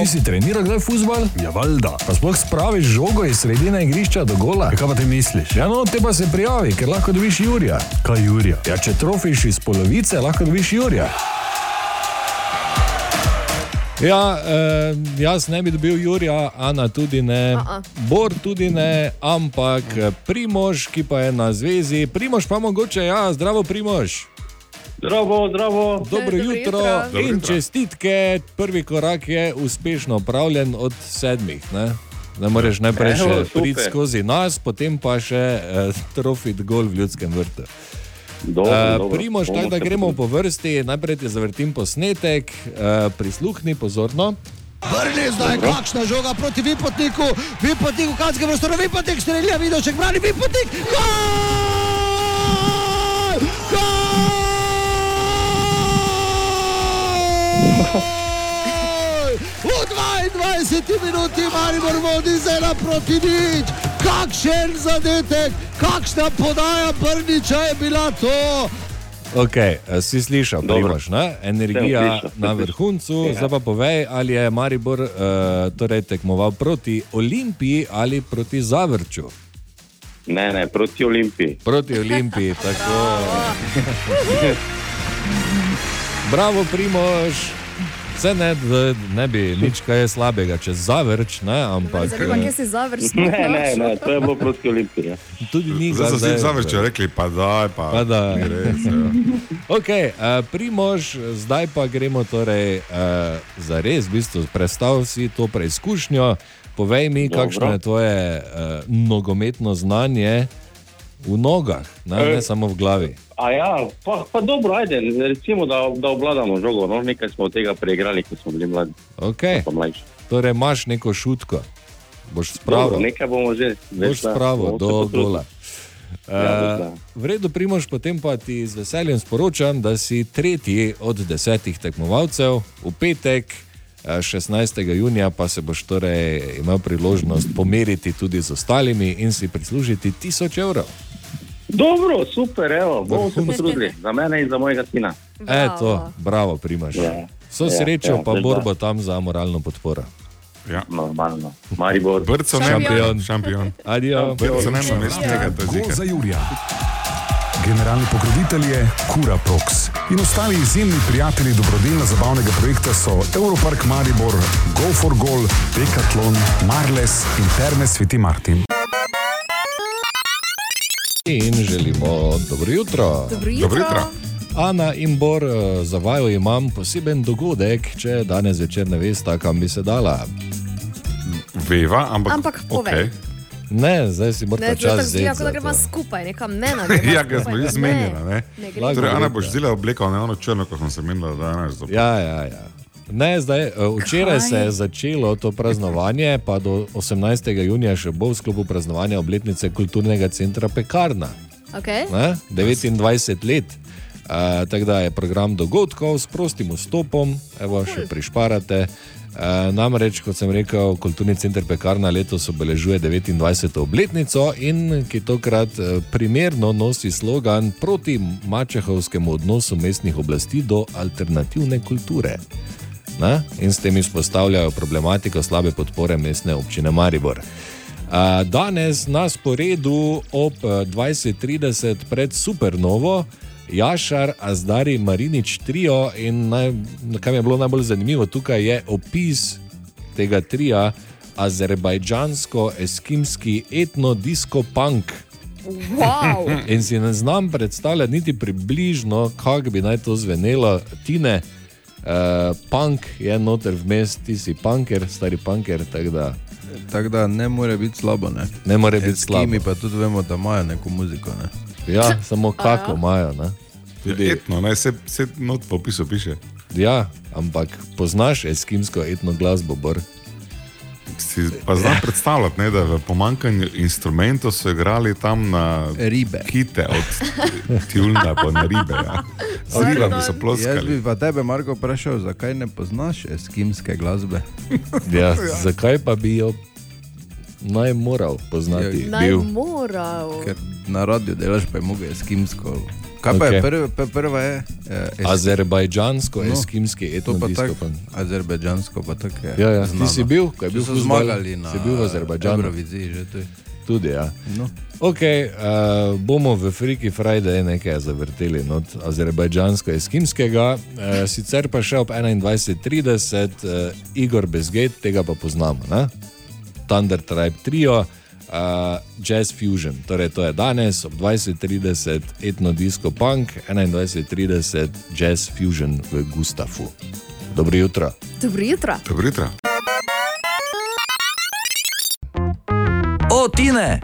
Speaker 5: Ti si treniral kdaj futbal? Ja, valjda. Pa sploh spraviš žogo iz sredine igrišča do gola. Kaj pa ti misliš? Ja, no, te pa se prijavi, ker lahko dobiš Jurija. Kaj Jurija? Ja, če trofiš iz polovice, lahko dobiš Jurija.
Speaker 3: Ja, eh, jaz ne bi dobil Jurija, Ana tudi ne,
Speaker 4: A-a.
Speaker 3: Bor tudi ne, ampak eh, Primož, ki pa je na zvezi, Primož pa mogoče, ja, zdravo Primož.
Speaker 7: Zdravo, zdravo.
Speaker 3: Dobro
Speaker 4: Dobro
Speaker 3: jutro
Speaker 4: jutro.
Speaker 6: Dobro
Speaker 3: in
Speaker 6: jutro.
Speaker 3: čestitke. Prvi korak je uspešno opravljen od sedmih. Ne, ne moreš najprej
Speaker 7: Evo,
Speaker 3: še
Speaker 7: super.
Speaker 3: priti skozi nas, potem pa še eh, trofit gol v ljudskem vrtu.
Speaker 7: Dobro,
Speaker 3: Eh,
Speaker 7: dobro.
Speaker 3: Primož,
Speaker 7: Bomo
Speaker 3: tako da
Speaker 7: se
Speaker 3: gremo po vrsti, najprej ti zavrtim posnetek, eh, prisluhni pozorno.
Speaker 8: Vrni zdaj, kakšna žoga proti Vipotniku, Vipotnik v kanskem prostoru, Vipotnik strelja, Vidošek brani, Vipotnik, gol! Gol! V 22 minuti Maribor vodi zela proti nič, kakšen zadetek, kakšna podaja Brniča je bila to!
Speaker 3: Okay, si slišal,
Speaker 7: Dobro.
Speaker 3: Primož, ne? energija
Speaker 7: Sem slišal, sem
Speaker 3: na
Speaker 7: slišal.
Speaker 3: vrhuncu. Ja. Zdaj pa povej, ali je Maribor uh, torej tekmoval proti Olimpiji ali proti Zavrču.
Speaker 7: Ne, ne, proti Olimpiji.
Speaker 3: Proti Olimpiji, tako. Bravo, Primož. Vse ne, da ne bi nič kaj slabega, če zavrč, ne, ampak
Speaker 4: Torej, Zanima me,
Speaker 3: eh,
Speaker 4: kje si zavrst.
Speaker 7: Ne, ne, ne, to je bilo proti Olimpiji. ja.
Speaker 3: tudi ni
Speaker 6: Zdaj so vsi zavrčali, rekli pa daj, pa,
Speaker 3: Pa daj.
Speaker 6: Ne Res, ja.
Speaker 3: Okay, uh, Primož, zdaj pa gremo torej, uh, za res, v bistvu, predstavljaj si to preizkušnjo. Povej mi, Dobro.
Speaker 7: Dobro.
Speaker 3: kakšno je tvoje uh, nogometno znanje v nogah, ne, ne
Speaker 7: Eh.
Speaker 3: samo v glavi.
Speaker 7: A ja, pa, pa dobro, ajde, recimo, da, da obvladamo žogo. No, nekaj smo od tega preigrali, ko smo bili mladi,
Speaker 3: Okay,
Speaker 7: pa mlajši.
Speaker 3: torej, imaš neko šutko, boš
Speaker 7: Dobro,
Speaker 3: spravil.
Speaker 7: nekaj bomo že.
Speaker 3: Boš
Speaker 7: da,
Speaker 3: spravo
Speaker 7: bomo se
Speaker 3: do
Speaker 7: potrudili.
Speaker 3: gola.
Speaker 7: Ja,
Speaker 3: Eh,
Speaker 7: da.
Speaker 3: V redu, Primož, potem pa ti z veseljem sporočam, da si tretji od desetih tekmovalcev v petek. eh, 16. junija pa se boš torej imel priložnost pomeriti tudi z ostalimi in si prislužiti 1000 evrov.
Speaker 7: Dobro, super, evo, bomo se
Speaker 3: Vrhunsko.
Speaker 7: potrudili. Za mene in za mojega sina.
Speaker 4: Bravo.
Speaker 3: Eto, bravo, Primož.
Speaker 7: Ja,
Speaker 3: Vso
Speaker 7: ja,
Speaker 3: srečo
Speaker 7: ja,
Speaker 3: pa
Speaker 7: veš da.
Speaker 3: borbo tam za moralno podporo.
Speaker 7: Normalno.
Speaker 6: Ja.
Speaker 7: Maribor.
Speaker 6: Brco ne,
Speaker 3: Šampion.
Speaker 6: šampion.
Speaker 3: Adijo.
Speaker 6: Brco ne, namesto tega, to je
Speaker 5: Gol
Speaker 6: zika.
Speaker 5: za Jurija. Generalni pokrovitelj je Kura Prox. In ostali izjemni prijatelji dobrodelno-zabavnega projekta so Europark Maribor, Go for Goal, Decathlon, Marles in Terne Sveti Martin.
Speaker 3: In želimo dobro jutro.
Speaker 4: Dobro jutro.
Speaker 6: Dobro jutro.
Speaker 3: Ana in Bor, eh, za vaju imam poseben dogodek, če danes večer ne veste, kam bi se dala.
Speaker 6: Veva, ampak,
Speaker 4: Ampak povej.
Speaker 6: okej.
Speaker 3: Ne, zdaj si
Speaker 4: Ne,
Speaker 3: morate
Speaker 4: to je tako zgleda,
Speaker 3: čas zeti.
Speaker 4: kot da
Speaker 3: za
Speaker 4: gremo
Speaker 3: to.
Speaker 4: skupaj, nekam ne na gre.
Speaker 6: Ja, ker smo že zmenjena. Ne?
Speaker 4: Ne gre.
Speaker 3: Lahko
Speaker 6: Torej, Ana
Speaker 3: greste.
Speaker 6: boš zdaj obleko, ne ono črno, kot sem se menila danes. Ja.
Speaker 3: Ja, ja, ja. Ne, zdaj, eh, včeraj Kaj? se je začelo to praznovanje, pa do 18. junija še bo v sklopu praznovanja obletnice kulturnega centra Pekarna.
Speaker 4: Okay.
Speaker 3: ne, 29 let. Uh, tako da je program dogodkov s prostim vstopom, evo še prišparate. Uh, namreč, kot sem rekel, kulturni center Pekarna letos obeležuje 29. obletnico in ki tokrat eh, primerno nosi slogan proti mačehovskemu odnosu mestnih oblasti do alternativne kulture. Na? In s tem izpostavljajo problematiko slabe podpore mestne občine Maribor. A, Danes na sporedu ob eh, 20:30 pred Supernovo. Jašar, Azdari, Marinič, trio in naj, kam je bilo najbolj zanimivo, tukaj je opis tega tria, azerbajdžansko-eskimski etno-disko-punk.
Speaker 4: Wow.
Speaker 3: In si ne znam predstavljati niti približno, kako bi naj to zvenelo, tine. Uh, punk je noter vmes, ti si punker, stari punker, tako da
Speaker 2: Tako da ne more biti slabo. Ne? E,
Speaker 3: ne more biti
Speaker 2: S kimi
Speaker 3: slabo.
Speaker 2: pa tudi vemo, da imajo neko muziko. Ne?
Speaker 3: Ja, samo kako imajo. ne.
Speaker 6: Tudi Ja, etno, ne, se, se not po opisu piše.
Speaker 3: Ja, ampak poznaš eskimsko etno glasbo, bor. Eh.
Speaker 6: Si pa znam predstavljati, ne, da v pomankanju instrumentov so igrali tam na
Speaker 2: Ribe.
Speaker 6: kite od tjulna pa na ribe. Ja. Z ribami so
Speaker 2: Jaz
Speaker 6: ploskali.
Speaker 2: bi pa tebe, Marko, vprašal, zakaj ne poznaš eskimske glasbe?
Speaker 3: Ja, zakaj pa bi jo naj moral poznati?
Speaker 4: Ja, Naj
Speaker 3: Bil.
Speaker 4: moral.
Speaker 2: Ker na radiju delaš pa je mogo eskimsko. Kaj pa
Speaker 3: Ok.
Speaker 2: je prva, pa prva je? eh, es-
Speaker 3: Azerbajdžansko,
Speaker 2: No,
Speaker 3: eskimski etno
Speaker 2: To pa
Speaker 3: disko.
Speaker 2: tako, azerbejdžansko pa tako je.
Speaker 3: Ja, ja. Ti
Speaker 2: znano.
Speaker 3: si bil, ko je
Speaker 2: Če
Speaker 3: bil
Speaker 2: so
Speaker 3: fuzbal,
Speaker 2: zmagali na
Speaker 3: si bil v Azerbajdžanu.
Speaker 2: Evroviziji že tudi.
Speaker 3: Tudi, ja.
Speaker 2: No.
Speaker 3: Ok, uh, bomo v Freaky Friday nekaj zavrteli no, od azerbajdžansko-eskimskega, uh, sicer pa še ob 21:30 uh, Igor Bezgate, tega pa poznamo, ne? Thunder Tribe Trio, uh, Jazz Fusion, torej to je danes ob 20:30 etno disco punk, 21:30 Jazz Fusion v Gustafu. Dobro jutro.
Speaker 4: Dobro jutro.
Speaker 6: Dobro jutro.
Speaker 1: O, Tine!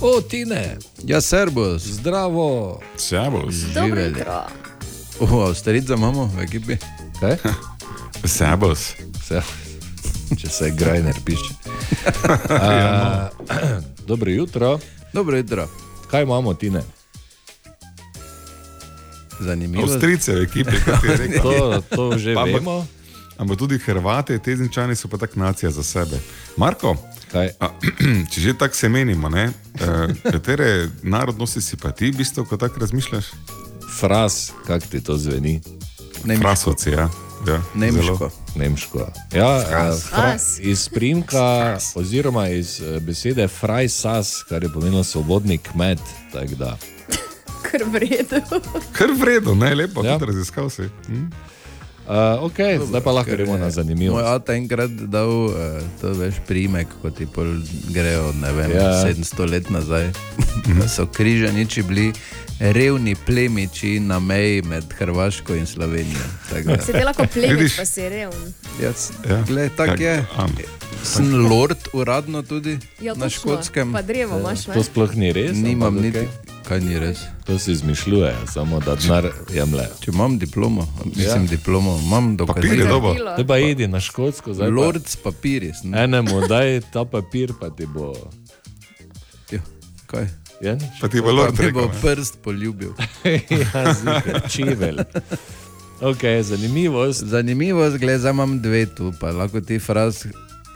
Speaker 3: O, Tine,
Speaker 2: Ja, serbus.
Speaker 3: zdravo!
Speaker 6: Sebus.
Speaker 4: Dobro
Speaker 2: Živeli.
Speaker 4: jutro.
Speaker 2: O, avstrijca imamo v ekipi.
Speaker 3: Kaj?
Speaker 6: Sebus.
Speaker 3: Vse, če se grajner piše.
Speaker 6: Ja.
Speaker 3: Uh, dobro jutro,
Speaker 2: Ja, no. Dobro jutro.
Speaker 3: kaj imamo ti ne?
Speaker 2: Zanimivo.
Speaker 6: Avstrijce v ekipi, kot je rekel.
Speaker 3: To, to že
Speaker 6: Pa bo-
Speaker 3: vemo.
Speaker 6: Ampak tudi Hrvati, tezinčani so pa tak nacija za sebe. Marko,
Speaker 3: Kaj?
Speaker 6: a, če že tako se menimo, ne, eh, katere narodnosti si pa ti, v bistvu, ko tako razmišljaš?
Speaker 3: Fras, kak ti to zveni,
Speaker 2: Nemško.
Speaker 6: Krasovci, ja. ja
Speaker 2: Nemško.
Speaker 3: nemško. Ja,
Speaker 6: Fras.
Speaker 3: eh,
Speaker 4: Fras.
Speaker 3: iz primka, oziroma iz eh, besede frajsas, kar je pomenilo svobodni kmet. tako da.
Speaker 4: Kar v redu.
Speaker 6: Kar vredno, ne lepo,
Speaker 3: Ja.
Speaker 6: ja. tudi raziskal si. Hm?
Speaker 3: Uh, ok, Dobro, zdaj pa lahko gremo na zanimivo.
Speaker 2: Moj ata je enkrat dal, eh, to veš, primek, kot ti pol grejo, ne vem,
Speaker 3: Ja.
Speaker 2: yeah. 700 let nazaj.
Speaker 6: Mhm.
Speaker 2: Da so križaniči bili revni plemiči na meji med Hrvaško in Slovenijo. Tako da,
Speaker 4: Se dela kot plemič,
Speaker 6: Vidiš?
Speaker 4: pa si revn.
Speaker 2: Jaz,
Speaker 6: Ja.
Speaker 2: glej, tak je.
Speaker 6: Am.
Speaker 2: Sem lord uradno tudi
Speaker 4: Ja,
Speaker 2: na
Speaker 4: točno.
Speaker 2: škotskem.
Speaker 4: Pa drevo imaš, ne?
Speaker 3: Ja. Eh, To sploh ni res.
Speaker 2: Nimam
Speaker 3: ampak
Speaker 2: niti,
Speaker 3: okej.
Speaker 2: kaj ni res.
Speaker 3: To si izmišljuje, samo da denar jemljejo.
Speaker 2: Če imam diplomo, mislim ja. diplomo, imam
Speaker 6: Papirje,
Speaker 2: dokazilo.
Speaker 6: dobro.
Speaker 4: Krdilo.
Speaker 3: Te pa idi na škotsko, zdaj pa-
Speaker 2: Lord s papirji, sem.
Speaker 3: Enemu daj ta papir, pa ti bo.
Speaker 2: Ja, Kaj?
Speaker 3: Ja, nič.
Speaker 6: Pa ti bo lord
Speaker 2: Ne bo
Speaker 6: rekel. ne?
Speaker 2: prst poljubil.
Speaker 3: ja, ziher, čivel. Okay, zanimivost.
Speaker 2: Zanimivo, zgled, zdaj imam dve tu, pa lahko ti fraz,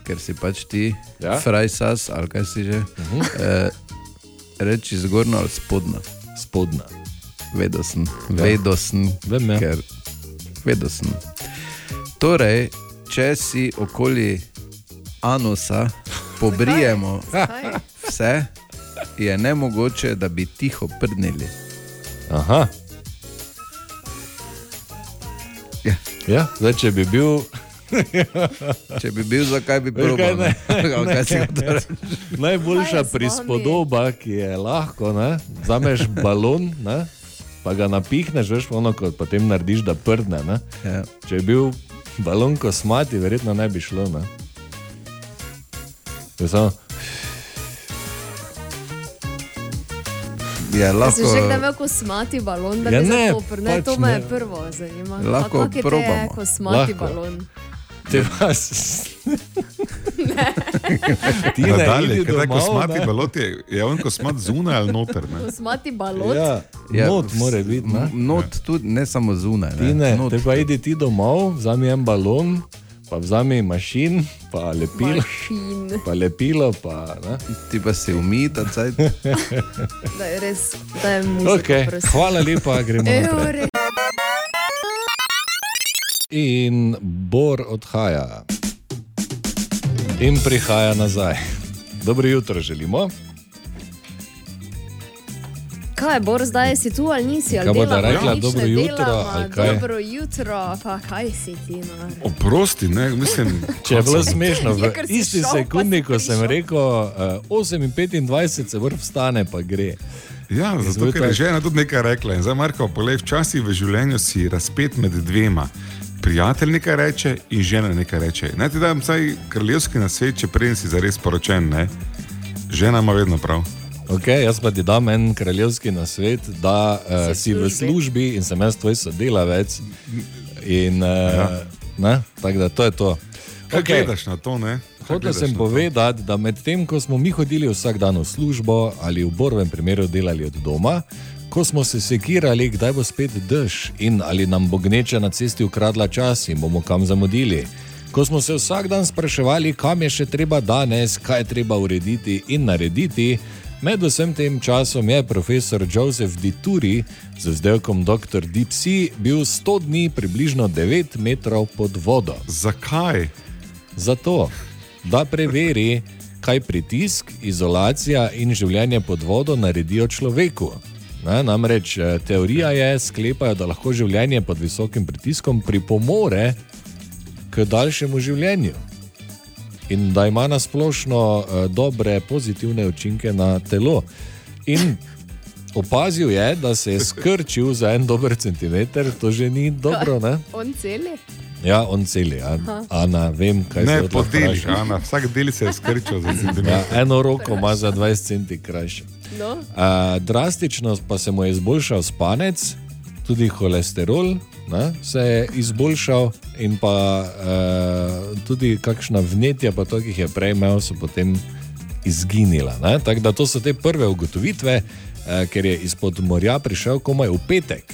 Speaker 2: ker si pač ti,
Speaker 3: Ja. Mhm.
Speaker 2: ja? frajsas ali kaj si že. Uh -huh. eh, reči zgornjo ali spodnjo.
Speaker 3: Spodna.
Speaker 2: Vedel sem, ja. vedel sem,
Speaker 3: Vem, ja.
Speaker 2: ker vedel sem. Torej, če si okoli anusa pobrijemo
Speaker 4: Kaj?
Speaker 2: vse, je nemogoče, da bi tiho prdnili.
Speaker 3: Aha.
Speaker 2: Ja.
Speaker 3: Ja, zdaj, če bi bil.
Speaker 2: Če bi bil, zakaj bi
Speaker 3: Veš
Speaker 2: bil?
Speaker 3: kaj, ne,
Speaker 2: kaj si torej-
Speaker 3: ne, ne.
Speaker 2: hotel reči?
Speaker 4: Kaj je
Speaker 3: Najboljša
Speaker 4: z vami?
Speaker 3: prispodoba, ki je lahko, ne? vzameš balon, ne? pa ga napihneš, veš, ono, kot potem narediš, da prdne. Ne?
Speaker 2: Ja.
Speaker 3: Če je bil balon kosmati, verjetno ne bi šlo. Ne? Je Samo,
Speaker 2: Ja,
Speaker 4: Jaz sem
Speaker 2: lahko,
Speaker 4: že kdaj imel kosmati balon, da
Speaker 3: Ja
Speaker 4: bi
Speaker 3: ne,
Speaker 4: zato prne, pač to
Speaker 3: pač
Speaker 4: me je
Speaker 3: ne.
Speaker 4: prvo zanima.
Speaker 2: Lahko
Speaker 4: Pa kako je te
Speaker 2: probamo.
Speaker 4: kosmati
Speaker 3: Lahko.
Speaker 4: balon.
Speaker 3: te vas. Ti
Speaker 6: Da
Speaker 3: ne
Speaker 6: dalje,
Speaker 3: idi
Speaker 6: ker tako
Speaker 3: domov,
Speaker 6: smati
Speaker 3: ne.
Speaker 6: balot je, je on kosmat zunaj ali noter. Ne?
Speaker 4: Kosmati balon. Ja.
Speaker 3: Ja, not mora biti. ne.
Speaker 2: Not tudi, ne samo zunaj.
Speaker 3: Ti ne,
Speaker 2: Not.
Speaker 3: te pa idi ti domov, vzami en balon, pa vzami mašin, pa lepilo,
Speaker 4: Mašin,
Speaker 3: pa lepilo, pa ne.
Speaker 2: Ti pa si umita, cajt.
Speaker 4: da je res, da je muzika,
Speaker 3: Okay.
Speaker 4: prosim.
Speaker 3: Hvala lepa, gremo naprej.
Speaker 4: Evre.
Speaker 3: In Bor odhaja. In prihaja nazaj. Dobro jutro želimo.
Speaker 4: Kaj je Bor zdaj, si tu ali nisi? Ali
Speaker 3: Kaj bo, da
Speaker 4: delava,
Speaker 3: rekla
Speaker 4: nič ne
Speaker 3: dobro jutro,
Speaker 4: delava,
Speaker 3: ali kaj?
Speaker 4: Dobro jutro, pa kaj si ti? No?
Speaker 6: Oprosti, ne, mislim.
Speaker 3: Če je bilo smešno, v
Speaker 4: Ja, ker si
Speaker 3: isti
Speaker 4: šel, pa si
Speaker 3: sekundi, ko sem
Speaker 4: prišel.
Speaker 3: rekel, eh, 8:25 se vrh vstane, pa gre.
Speaker 6: Ja, zato ker je
Speaker 3: Izvolite.
Speaker 6: žena tudi nekaj rekla. In Zdaj, Marko, polej, včasih v življenju si razpet med dvema. Prijatelj nekaj reče in žena nekaj reče. Naj ti dam vsaj kraljevski na svet, če prej si zares poročen. Ne? Žena ima vedno prav.
Speaker 3: Okay, jaz pa ti dam en kraljevski nasvet, da uh,
Speaker 4: Si
Speaker 3: si
Speaker 4: v
Speaker 3: v
Speaker 4: službi.
Speaker 3: službi in sem jaz tvoj sodelavec. In, uh, ja. Tako da to je to.
Speaker 6: Kaj okay.
Speaker 3: Okej.
Speaker 6: gledaš na to? ne? Kaj
Speaker 3: Hotel
Speaker 6: gledaš
Speaker 3: sem
Speaker 6: na to?
Speaker 3: povedati, da medtem ko smo mi hodili vsak dan v službo ali v borovem primeru delali od doma, ko smo se sekirali, kdaj bo spet dež in ali nam bo gneča na cesti ukradla čas in bomo kam zamudili. Ko smo se vsak dan spraševali, kam je še treba danes, kaj je treba urediti in narediti, med vsem tem časom je profesor Joseph Dituri z vzdevkom Dr. Deep Sea bil 100 dni približno 9 metrov pod vodo.
Speaker 6: Zakaj?
Speaker 3: Zato, da preveri, kaj pritisk, izolacija in življenje pod vodo naredijo človeku. Ne, namreč eh, teorija je, sklepajo, da lahko življenje pod visokim pritiskom pripomore k daljšemu življenju in da ima na splošno eh, dobre, pozitivne učinke na telo. In opazil je, da se je skrčil za en dober centimeter, to že ni dobro. Ne?
Speaker 4: On celi?
Speaker 3: Ja, on celi, a, a ne vem, kaj se
Speaker 6: Ne,
Speaker 3: je
Speaker 6: po delih, Ana. Vsak del se je skrčil za
Speaker 3: Ja,
Speaker 6: centimeter.
Speaker 3: eno roko ima za 20 centi krajše.
Speaker 4: No?
Speaker 3: A, drastično pa se mu je izboljšal spanec, tudi holesterol ne, se je izboljšal, in pa e, tudi kakšna vnetja, pa to, ki jih je prej imel, so potem izginila. ne. Tako da to so te prve ugotovitve, e, ker je izpod morja prišel komaj v petek.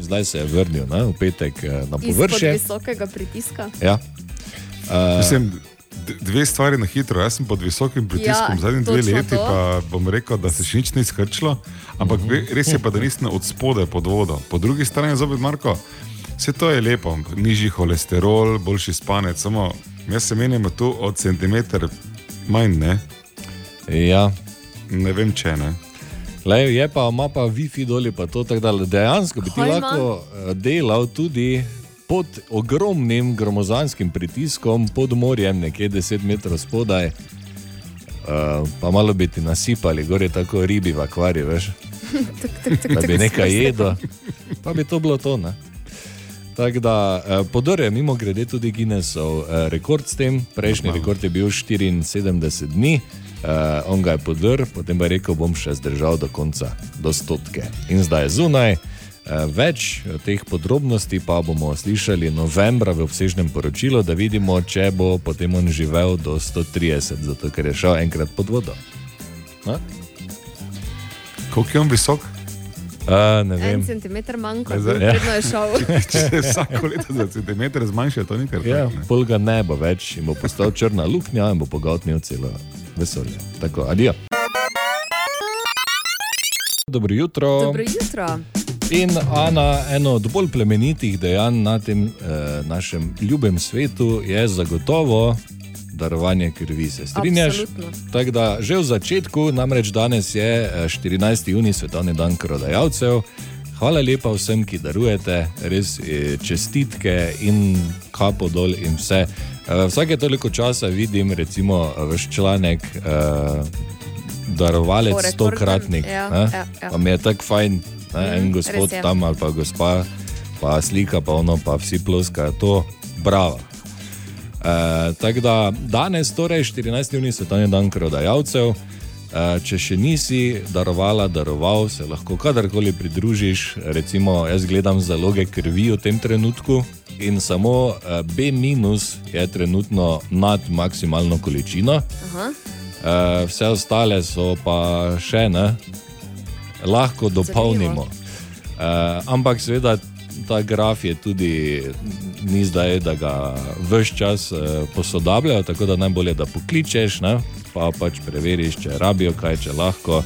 Speaker 3: Zdaj se je vrnil ne, v petek e, na
Speaker 4: Izpod
Speaker 3: površje.
Speaker 4: visokega pritiska.
Speaker 3: Ja. E,
Speaker 6: Uh, Mislim, d- Dve stvari na hitro. Jaz sem pod visokim pritiskom
Speaker 4: Ja,
Speaker 6: ja, zadnji dve
Speaker 4: točno
Speaker 6: leti,
Speaker 4: to.
Speaker 6: pa bom rekel, da se še nič ni skrčilo,
Speaker 3: Mhm.
Speaker 6: ampak ve- res je pa, da nisem od spode pod vodo. Po drugi strani, zopet Marko, vse to je lepo, nižji holesterol, boljši spanec, samo jaz se menim tu od centimeter manj, ne,
Speaker 3: ja.
Speaker 6: ne vem če ne.
Speaker 3: Lej, je pa, ima pa Wi-Fi dol, pa to tako dalje. Dejansko bi ti
Speaker 4: Kaj ima?
Speaker 3: lahko eh, delal tudi pod ogromnim gromozanskim pritiskom, pod morjem, nekje 10 metrov spodaj. eh, Pa malo bi ti nasipali, gore tako ribi v akvariju, veš,
Speaker 4: Tuk, tuk, tuk,
Speaker 3: da bi
Speaker 4: tuk,
Speaker 3: nekaj
Speaker 4: skozi.
Speaker 3: jedel. Pa bi to bilo to. Ne? Tako da, eh, podor je mimo grede tudi Guinnessov eh, rekord s tem. Prejšnji rekord je bil 74 dni, eh, on ga je podrl, potem pa je rekel, bom še zdržal do konca, do stotke. In zdaj je zunaj. Eh, Več teh podrobnosti pa bomo slišali novembra v obsežnem poročilu, da vidimo, če bo potem on živel do 130, zato ker je šel enkrat pod vodo.
Speaker 6: Koliko je on visok?
Speaker 3: Uh, ne vem.
Speaker 4: En centimeter manj, kot
Speaker 6: Zdaj- Ja.
Speaker 4: je vedno je šel.
Speaker 6: Če se vsako leto za centimeter zmanjša, to ni kar
Speaker 3: Ja,
Speaker 6: tako. ne.
Speaker 3: pol ga ne bo več in bo postal črna luknja in bo pogotnil celo vesolje. Tako, adijo. Dobro jutro.
Speaker 4: Dobro jutro.
Speaker 3: In Ana, eno od bolj plemenitih dejanj na tem eh, našem ljubem svetu je zagotovo darovanje krvi. Se strinjaš?
Speaker 4: Absolutno.
Speaker 3: Tako da že v začetku, namreč danes je eh, 14. junij, svetovni dan krvodajalcev. Hvala lepa vsem, ki darujete, res eh, čestitke in kapo dol in vse. Eh, Vsake toliko časa vidim, recimo, vaš članek. eh, Darovalec
Speaker 4: O rekordnem,
Speaker 3: stokratnik.
Speaker 4: ja,
Speaker 3: ne.
Speaker 4: ja, ja.
Speaker 3: Pa mi je tako fajn, ne, en gospod
Speaker 4: Mhm, res je.
Speaker 3: tam ali pa gospa, pa slika, pa ono, pa vsi ploskajo, to bravo. E, tako da danes, torej 14. junij, svetovni dan krvodajalcev. E, če še nisi darovala, daroval, se lahko kadarkoli pridružiš. Recimo, jaz gledam zaloge krvi v tem trenutku in samo e, B- je trenutno nad maksimalno količino.
Speaker 4: Aha.
Speaker 3: E, vse ostale so pa še ne, lahko dopolnimo. E, ampak seveda ta graf je tudi, ni zdaj, da ga vse čas e, posodabljajo, tako da najbolje, da pokličeš, ne, pa pač preveriš, če rabijo kaj, če lahko.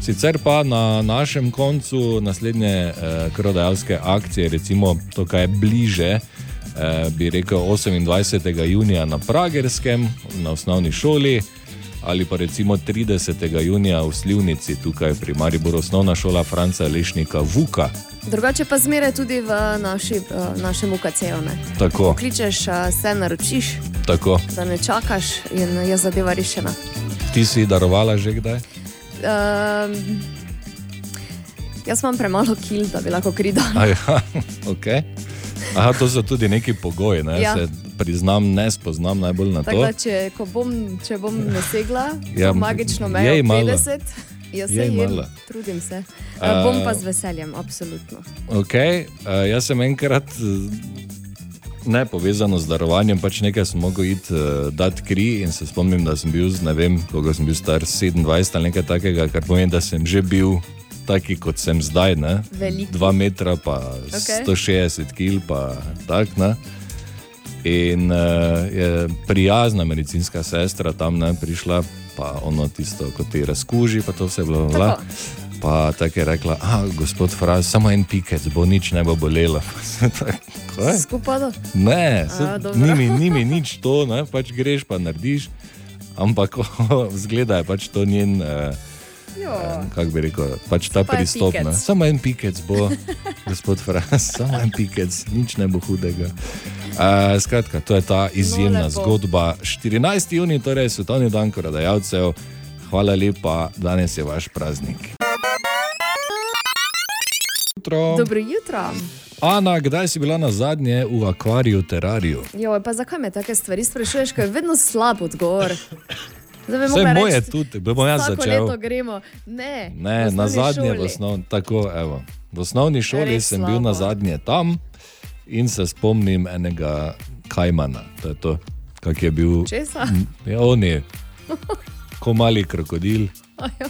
Speaker 3: Sicer pa na našem koncu naslednje eh, krvodajalske akcije, recimo to, kar je bliže, eh, bi rekel 28. junija na Pragerskem, na osnovni šoli, ali pa recimo 30. junija v Slivnici, tukaj pri Mariboru, osnovna šola Franca Lešnika Vuka.
Speaker 4: Drugače pa zmeraj tudi v naši, eh, našem UKC-ju. ne.
Speaker 3: Tako,
Speaker 4: Kličeš, eh, se naročiš,
Speaker 3: tako.
Speaker 4: da ne čakaš in je zadeva rešena.
Speaker 3: Ti si darovala že kdaj?
Speaker 4: Um, jaz imam premalo kil, da bi lahko kri dal.
Speaker 3: Aja, okay. Aha, to so tudi neki pogoji, ne?
Speaker 4: Ja.
Speaker 3: ja. se priznam, ne spoznam najbolj na
Speaker 4: Tako
Speaker 3: to.
Speaker 4: da, če, ko bom, če bom dosegla ja,
Speaker 3: Ja,
Speaker 4: magično mejo
Speaker 3: jej malo.
Speaker 4: 50, jaz se
Speaker 3: Jej
Speaker 4: jim
Speaker 3: malo.
Speaker 4: trudim. Se. Uh,
Speaker 3: A-
Speaker 4: bom pa z veseljem, absolutno.
Speaker 3: Okay, uh, jaz sem enkrat eh, ne povezano z darovanjem, pač nekaj sem mogel iti uh, dati kri in se spomnim, da sem bil, z- ne vem, koliko sem bil star, 27 ali nekaj takega, kar pomeni, da sem že bil taki, kot sem zdaj. Ne?
Speaker 4: Velik.
Speaker 3: 2 metra, pa
Speaker 4: Okej.
Speaker 3: okay. 160 kg, pa tak. Ne? In uh, je prijazna medicinska sestra tam ne, prišla, pa ono tisto, ko ti razkuži, pa to vse bilo.
Speaker 4: Tako.
Speaker 3: Pa tako je rekla, a gospod Fraz, samo en pikec, bo nič ne bo bolelo. Pa sem tak, "Kaj?"
Speaker 4: Skupaj do. A,
Speaker 3: Ne, se,
Speaker 4: dobro.
Speaker 3: nimi, nimi nič to, ne, pač greš pa narediš. Ampak zgleda je pač to njen, eh,
Speaker 4: Jo.
Speaker 3: kako bi rekel, pač ta
Speaker 4: Pa je
Speaker 3: pristop. ne.
Speaker 4: pikec.
Speaker 3: Samo en pikec bo, gospod Fras, samo en pikec, nič ne bo hudega. Uh, skratka, to je ta izjemna
Speaker 4: lepo.
Speaker 3: no, zgodba. 14. junij, torej svetovni dan korodajalcev. Hvala lepa, danes je vaš praznik. Jutro.
Speaker 4: Dobro jutro.
Speaker 3: Ana, kdaj si bila na zadnje v akvariju, terariju?
Speaker 4: Jo, pa zakaj me take stvari sprašuješ, ker je vedno slab odgovor? Zdaj bi
Speaker 3: Vse
Speaker 4: mogla
Speaker 3: moje
Speaker 4: reči,
Speaker 3: tudi, da bom jaz
Speaker 4: vsako
Speaker 3: začel.
Speaker 4: leto gremo. Ne, v
Speaker 3: Ne,
Speaker 4: osnovni
Speaker 3: na zadnje v
Speaker 4: šoli.
Speaker 3: osnovni, tako, evo. V osnovni šoli
Speaker 4: Res
Speaker 3: Res sem bil
Speaker 4: slabo.
Speaker 3: na zadnje tam in se spomnim enega kajmana, to je to, kak je bil.
Speaker 4: Česa?
Speaker 3: Ja, on je, ko mali krokodil,
Speaker 4: Ajo.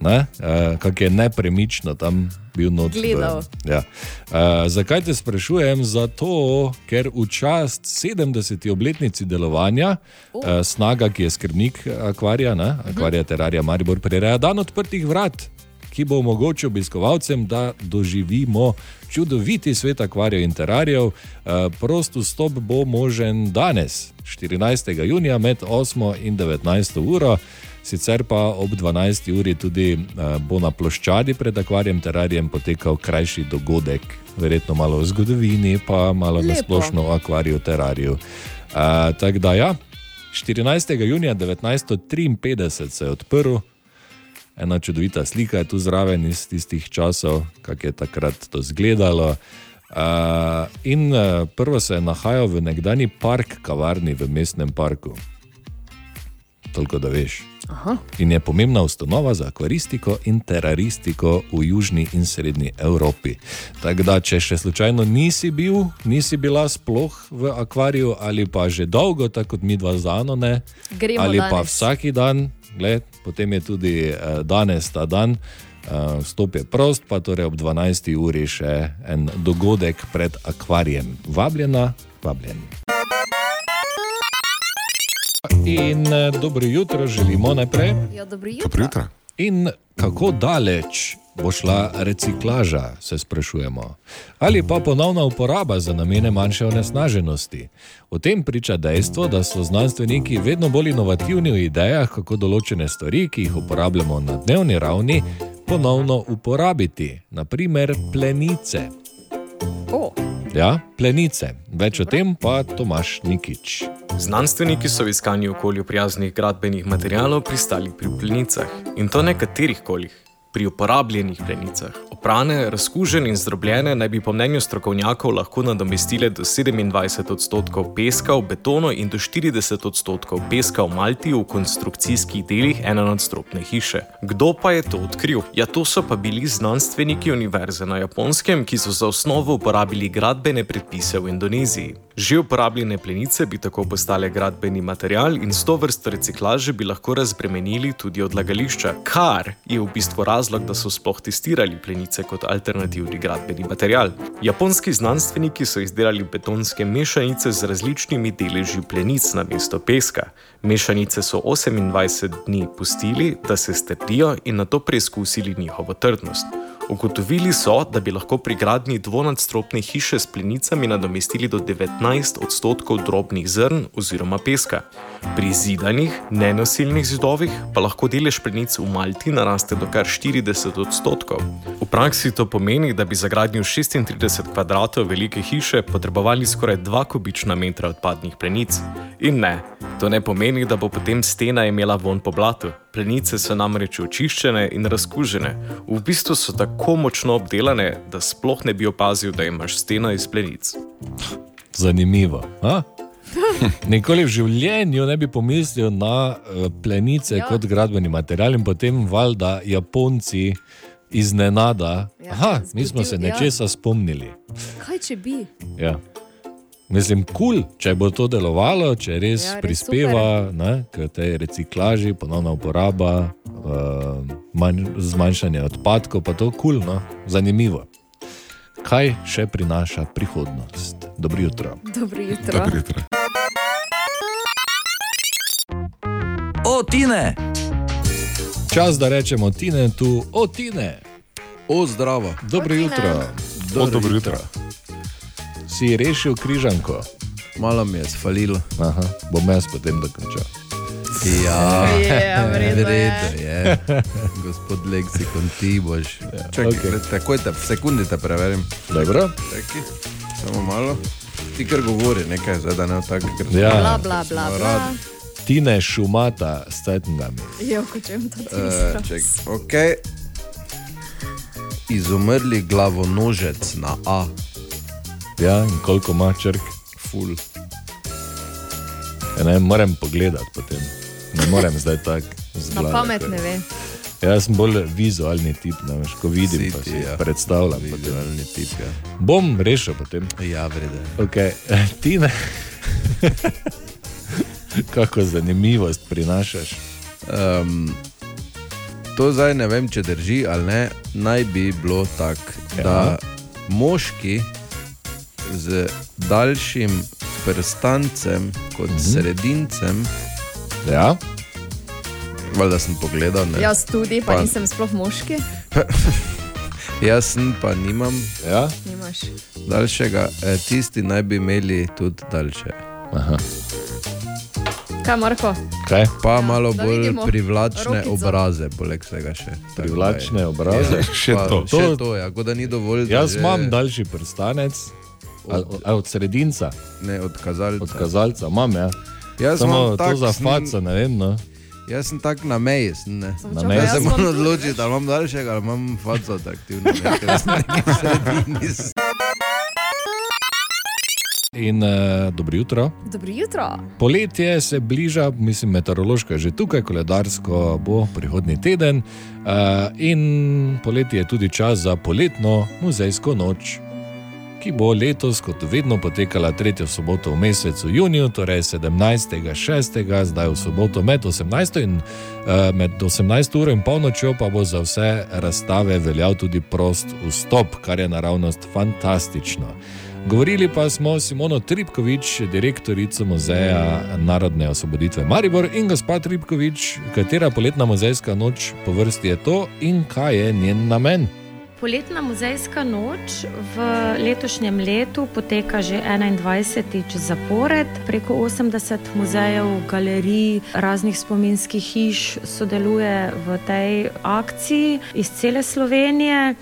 Speaker 3: ne, eh, kak je nepremično tam bil noč. v-
Speaker 4: Gledal.
Speaker 3: Ja. Eh, zakaj te sprašujem? Zato, ker v čast 70. obletnici delovanja uh. eh, Snaga, ki je skrbnik akvarija, ne, akvarija Terarija Maribor, prireja dan odprtih vrat. Ki bo omogočil obiskovalcem, da doživimo čudoviti svet akvarijev in terarijev. Eh, Prost vstop bo možen danes, 14. junija, med 8 in 19 uro. Sicer pa ob 12. uri tudi eh, bo na ploščadi pred akvarijem terarijem potekal krajši dogodek, verjetno malo o zgodovini, pa malo
Speaker 4: Lepo.
Speaker 3: na splošno o akvariju terariju. Eh, Tako da ja, 14. junija 1953 se je odprl. Ena čudovita slika je tu zraven iz tistih časov, kako je takrat to izgledalo. Uh, in uh, prvo se je nahajal v nekdani park, kavarni v mestnem parku. Toliko da veš
Speaker 4: Aha.
Speaker 3: in je pomembna ustanova za akvaristiko in teraristiko v južni in srednji Evropi. Tako da, če še slučajno nisi bil, nisi bila sploh v akvariju ali pa že dolgo, tako kot mi dva zano ne,
Speaker 4: Gremo
Speaker 3: ali
Speaker 4: danes.
Speaker 3: pa vsaki dan, gled, potem je tudi eh, danes ta dan. eh, Vstop je prost, pa torej ob 12. uri še en dogodek pred akvarijem. Vabljena, vabljen. In eh, dobro jutro želimo najprej.
Speaker 4: Ja, dobro
Speaker 6: Dobro
Speaker 4: jutro.
Speaker 6: jutro.
Speaker 3: In kako daleč bo šla reciklaža, se sprašujemo. Ali pa ponovna uporaba za namene manjše onesnaženosti. O tem priča dejstvo, da so znanstveniki vedno bolj inovativni v idejah, kako določene stvari, ki jih uporabljamo na dnevni ravni, ponovno uporabiti, naprimer plenice.
Speaker 4: O,
Speaker 3: Ja, plenice. Več o tem pa Tomaš Nikič.
Speaker 9: Znanstveniki so v iskanju okolju prijaznih gradbenih materijalov pristali pri plenicah in to ne katerih kolih. Pri uporabljenih plenicah, oprane, razkužene in zdrobljene, naj bi po mnenju strokovnjakov lahko nadomestile do 27 odstotkov peska v betonu in do 40 odstotkov peska v Malti v konstrukcijskih delih enonadstropne hiše. Kdo pa je to odkril? Ja, to so pa bili znanstveniki univerze na Japonskem, ki so za osnovo uporabili gradbene predpise v Indoneziji. Že uporabljene plenice bi tako postale gradbeni material in s to vrsto reciklaže bi lahko razbremenili tudi odlagališča, kar je v bistvu razlog, da so sploh testirali plenice kot alternativni gradbeni material. Japonski znanstveniki so izdelali betonske mešanice z različnimi deleži plenic na mesto peska. Mešanice so 28 dni pustili, da se strdijo in na to preizkusili njihovo trdnost. Ugotovili so, da bi lahko pri gradnji dvonadstropne hiše s plenicami nadomestili do 19 odstotkov drobnih zrn oziroma peska. Pri zidanih, nenosilnih zidovih pa lahko delež plenic v Malti naraste do kar 40 odstotkov. V praksi to pomeni, da bi za gradnjo 36 kvadratov velike hiše potrebovali skoraj 2 kubična metra odpadnih plenic. In ne, to ne pomeni, da bo potem stena imela von po blatu. Plenice so namreč očiščene in razkužene. V bistvu so tako močno obdelane, da sploh ne bi opazil, da imaš steno iz plenic.
Speaker 3: Zanimivo. A? Nikoli v življenju ne bi pomislil na eh, plenice
Speaker 4: Ja.
Speaker 3: ja. kot gradbeni material in potem valjda Japonci iznenada.
Speaker 4: Ja,
Speaker 3: Aha, mi smo
Speaker 4: zbudil,
Speaker 3: se
Speaker 4: ja."
Speaker 3: nečesa spomnili.
Speaker 4: kaj če bi?
Speaker 3: Ja. Mislim, kul, cool, če bo to delovalo, če res,
Speaker 4: Ja, res
Speaker 3: ja, res prispeva ne, k tej reciklaži, ponovna uporaba, uh, manj, zmanjšanje odpadkov, pa to kul, cool, no? zanimivo. Kaj še prinaša prihodnost? Dobro jutro.
Speaker 4: Dobro jutro.
Speaker 6: Dobro jutro.
Speaker 1: O, Tine!
Speaker 3: Čas, da rečemo Tine tu, o Tine.
Speaker 2: O, zdravo.
Speaker 3: Dobro
Speaker 4: O, Tine.
Speaker 3: jutro.
Speaker 6: O, dobro jutro.
Speaker 3: Si rešil križanko?
Speaker 2: Malo mi je sfalilo.
Speaker 3: Aha, bom jaz potem dokončal.
Speaker 2: Ja,
Speaker 4: Ja, verjetno je.
Speaker 2: verjetno je. Gospod leksikon, ti boš. Čakaj,
Speaker 3: okej.
Speaker 2: takoj te, v sekundi te preverim.
Speaker 3: Dobro?
Speaker 2: Čakaj, samo malo. Ti kar govori nekaj, zdaj da ne tako, ker
Speaker 3: Ja.
Speaker 4: Bla, bla, bla. bla.
Speaker 3: Tine šumata s tajtngami.
Speaker 4: Jo, ko čujem to
Speaker 2: Eh,
Speaker 4: tisto.
Speaker 2: čakaj, Okay. Izumrli glavonožec na A,
Speaker 3: Ja, in koliko ima črk?
Speaker 2: ful.
Speaker 3: Ja, ne, moram pogledati potem. Ne morem zdaj tako zelo.
Speaker 4: Na pamet ne ve.
Speaker 3: Jaz sem bolj vizualni tip, ne veš, ko vidim,
Speaker 2: Si
Speaker 3: si, pa
Speaker 2: ti,
Speaker 3: si
Speaker 2: ja.
Speaker 3: ja. predstavljam. potem.
Speaker 2: Vizualni tip, ja.
Speaker 3: Bom rešil potem.
Speaker 2: Ja, vrede.
Speaker 3: Okay. Ti ne. Kako zanimivost prinašaš.
Speaker 2: Um, to zdaj ne vem, če drži ali ne. Naj bi bilo tako,
Speaker 3: Ja.
Speaker 2: ja. da moški z daljšim prstancem kot mhm. sredincem,
Speaker 3: Ja?
Speaker 2: valjda sem pogledal, ne.
Speaker 4: Jaz tudi, pa
Speaker 2: Pa-
Speaker 4: nisem sploh moški.
Speaker 2: Jaz sem pa nimam
Speaker 3: Ja?
Speaker 4: Nimaš.
Speaker 2: daljšega, eh, tisti naj bi imeli tudi daljše.
Speaker 3: Aha.
Speaker 4: Kaj, Marko?
Speaker 3: Kaj?
Speaker 2: Pa malo
Speaker 4: Ja, da
Speaker 2: bolj
Speaker 4: vidimo
Speaker 2: privlačne
Speaker 4: rokico.
Speaker 2: Rokico. obraze, poleg vsega še. Tako da je-
Speaker 3: Privlačne obraze.
Speaker 6: Še
Speaker 2: Pa,
Speaker 6: to.
Speaker 2: Še to, ja, kot da ni dovolj. da
Speaker 3: Jaz
Speaker 2: že-
Speaker 3: imam daljši prstanec. Od, od sredinca,
Speaker 2: Ne, od kazalca.
Speaker 3: od kazalca, imam ja.
Speaker 2: Jaz
Speaker 3: Samo
Speaker 2: imam
Speaker 3: to
Speaker 2: tak,
Speaker 3: za
Speaker 2: sem-
Speaker 3: faco, ne vem. No.
Speaker 2: Jaz sem tak na meji. Sem, ne.
Speaker 4: Na
Speaker 3: meji.
Speaker 2: Jaz
Speaker 3: Jaz
Speaker 2: se
Speaker 4: imam
Speaker 2: moram
Speaker 4: tudi,
Speaker 2: odločiti, ali imam daljšega ali imam faco atraktivno. ne, ker sem nekje v sredini.
Speaker 3: In uh, dobro jutro.
Speaker 4: Dobro jutro.
Speaker 3: Poletje se bliža, mislim, meteorološko je že tukaj, koledarsko bo prihodnji teden. Uh, in poletje je tudi čas za poletno muzejsko noč, ki bo letos, kot vedno, potekala tretjo soboto v mesecu juniju, torej 17.6., zdaj v soboto med 18. in uh, med 18. uro in polnočjo pa bo za vse razstave veljal tudi prost vstop, kar je naravnost fantastično. Govorili pa smo s Simono Tripkovič, direktorico Muzeja narodne osvoboditve Maribor in gospa Tripkovič, katera poletna muzejska noč po vrsti je to in kaj je njen namen.
Speaker 10: Poletna muzejska noč v letošnjem letu poteka že 21. zapored. Preko 80 muzejev, galerij, raznih spominskih hiš sodeluje v tej akciji iz cele Slovenije.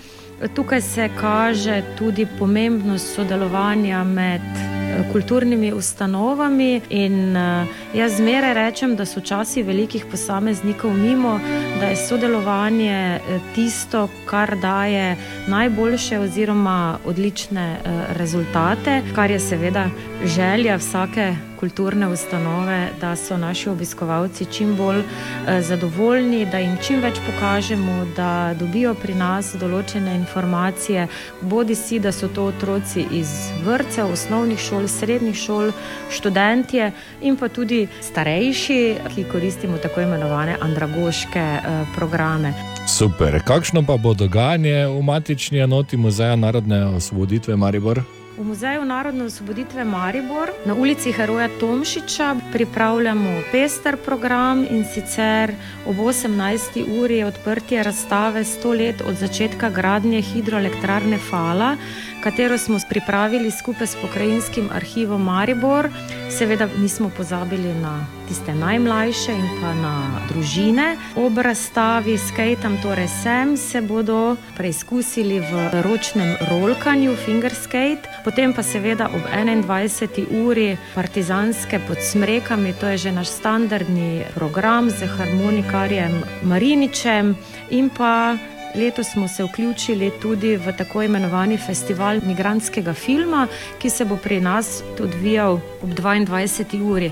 Speaker 10: Tukaj se kaže tudi pomembnost sodelovanja med eh, kulturnimi ustanovami in eh, jaz zmeraj rečem, da so časi velikih posameznikov mimo, da je sodelovanje eh, tisto, kar daje najboljše oziroma odlične eh, rezultate, kar je seveda želja vsake kulturne ustanove, da so naši obiskovalci čim bolj eh, zadovoljni, da jim čim več pokažemo, da dobijo pri nas določene informacije, bodi si, da so to otroci iz vrtcev, osnovnih šol, srednjih šol, študentje in pa tudi starejši, ki koristimo tako imenovane andragoške eh, programe.
Speaker 3: Super. Kakšno pa bo dogajanje v matični enoti Muzeja narodne osvoboditve Maribor?
Speaker 10: V Muzeju narodne osvoboditve Maribor na ulici Heroja Tomšiča pripravljamo pester program in sicer ob 18. uri je odprtje razstave 100 let od začetka gradnje hidroelektrarne Fala, katero smo pripravili skupaj s pokrajinskim arhivom Maribor. Seveda nismo pozabili na tiste najmlajše in pa na družine. Ob razstavi s Kejtom, torej sem, se bodo preizkusili v ročnem rolkanju, fingerskate, potem pa seveda ob 21. uri partizanske pod smrekami, to je že naš standardni program z harmonikarjem Mariničem in pa Letos smo se vključili tudi v tako imenovani festival migranskega filma, ki se bo pri nas odvijal ob 22. uri.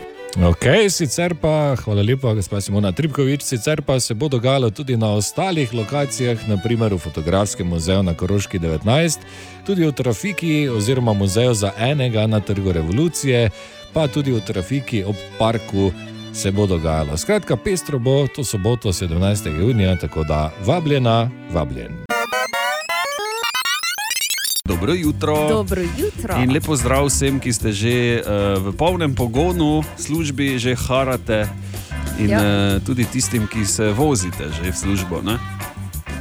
Speaker 3: Ok, sicer pa, hvala lepa, gospa Simona Tripkovič, sicer pa se bo dogajalo tudi na ostalih lokacijah, naprimer v Fotografskem muzeju na Koroški 19, tudi v Trafiki oziroma muzeju za enega na Trgu revolucije, pa tudi v Trafiki ob parku se bo dogajalo. Skratka, pestro bo to soboto 17. junija, tako da vabljena, vabljen.
Speaker 11: Dobro jutro.
Speaker 4: Dobro jutro.
Speaker 11: In lepo zdrav vsem, ki ste že uh, v polnem pogonu, službi že harate. In
Speaker 4: Ja.
Speaker 11: uh, tudi tistim, ki se vozite že v službo. Ne?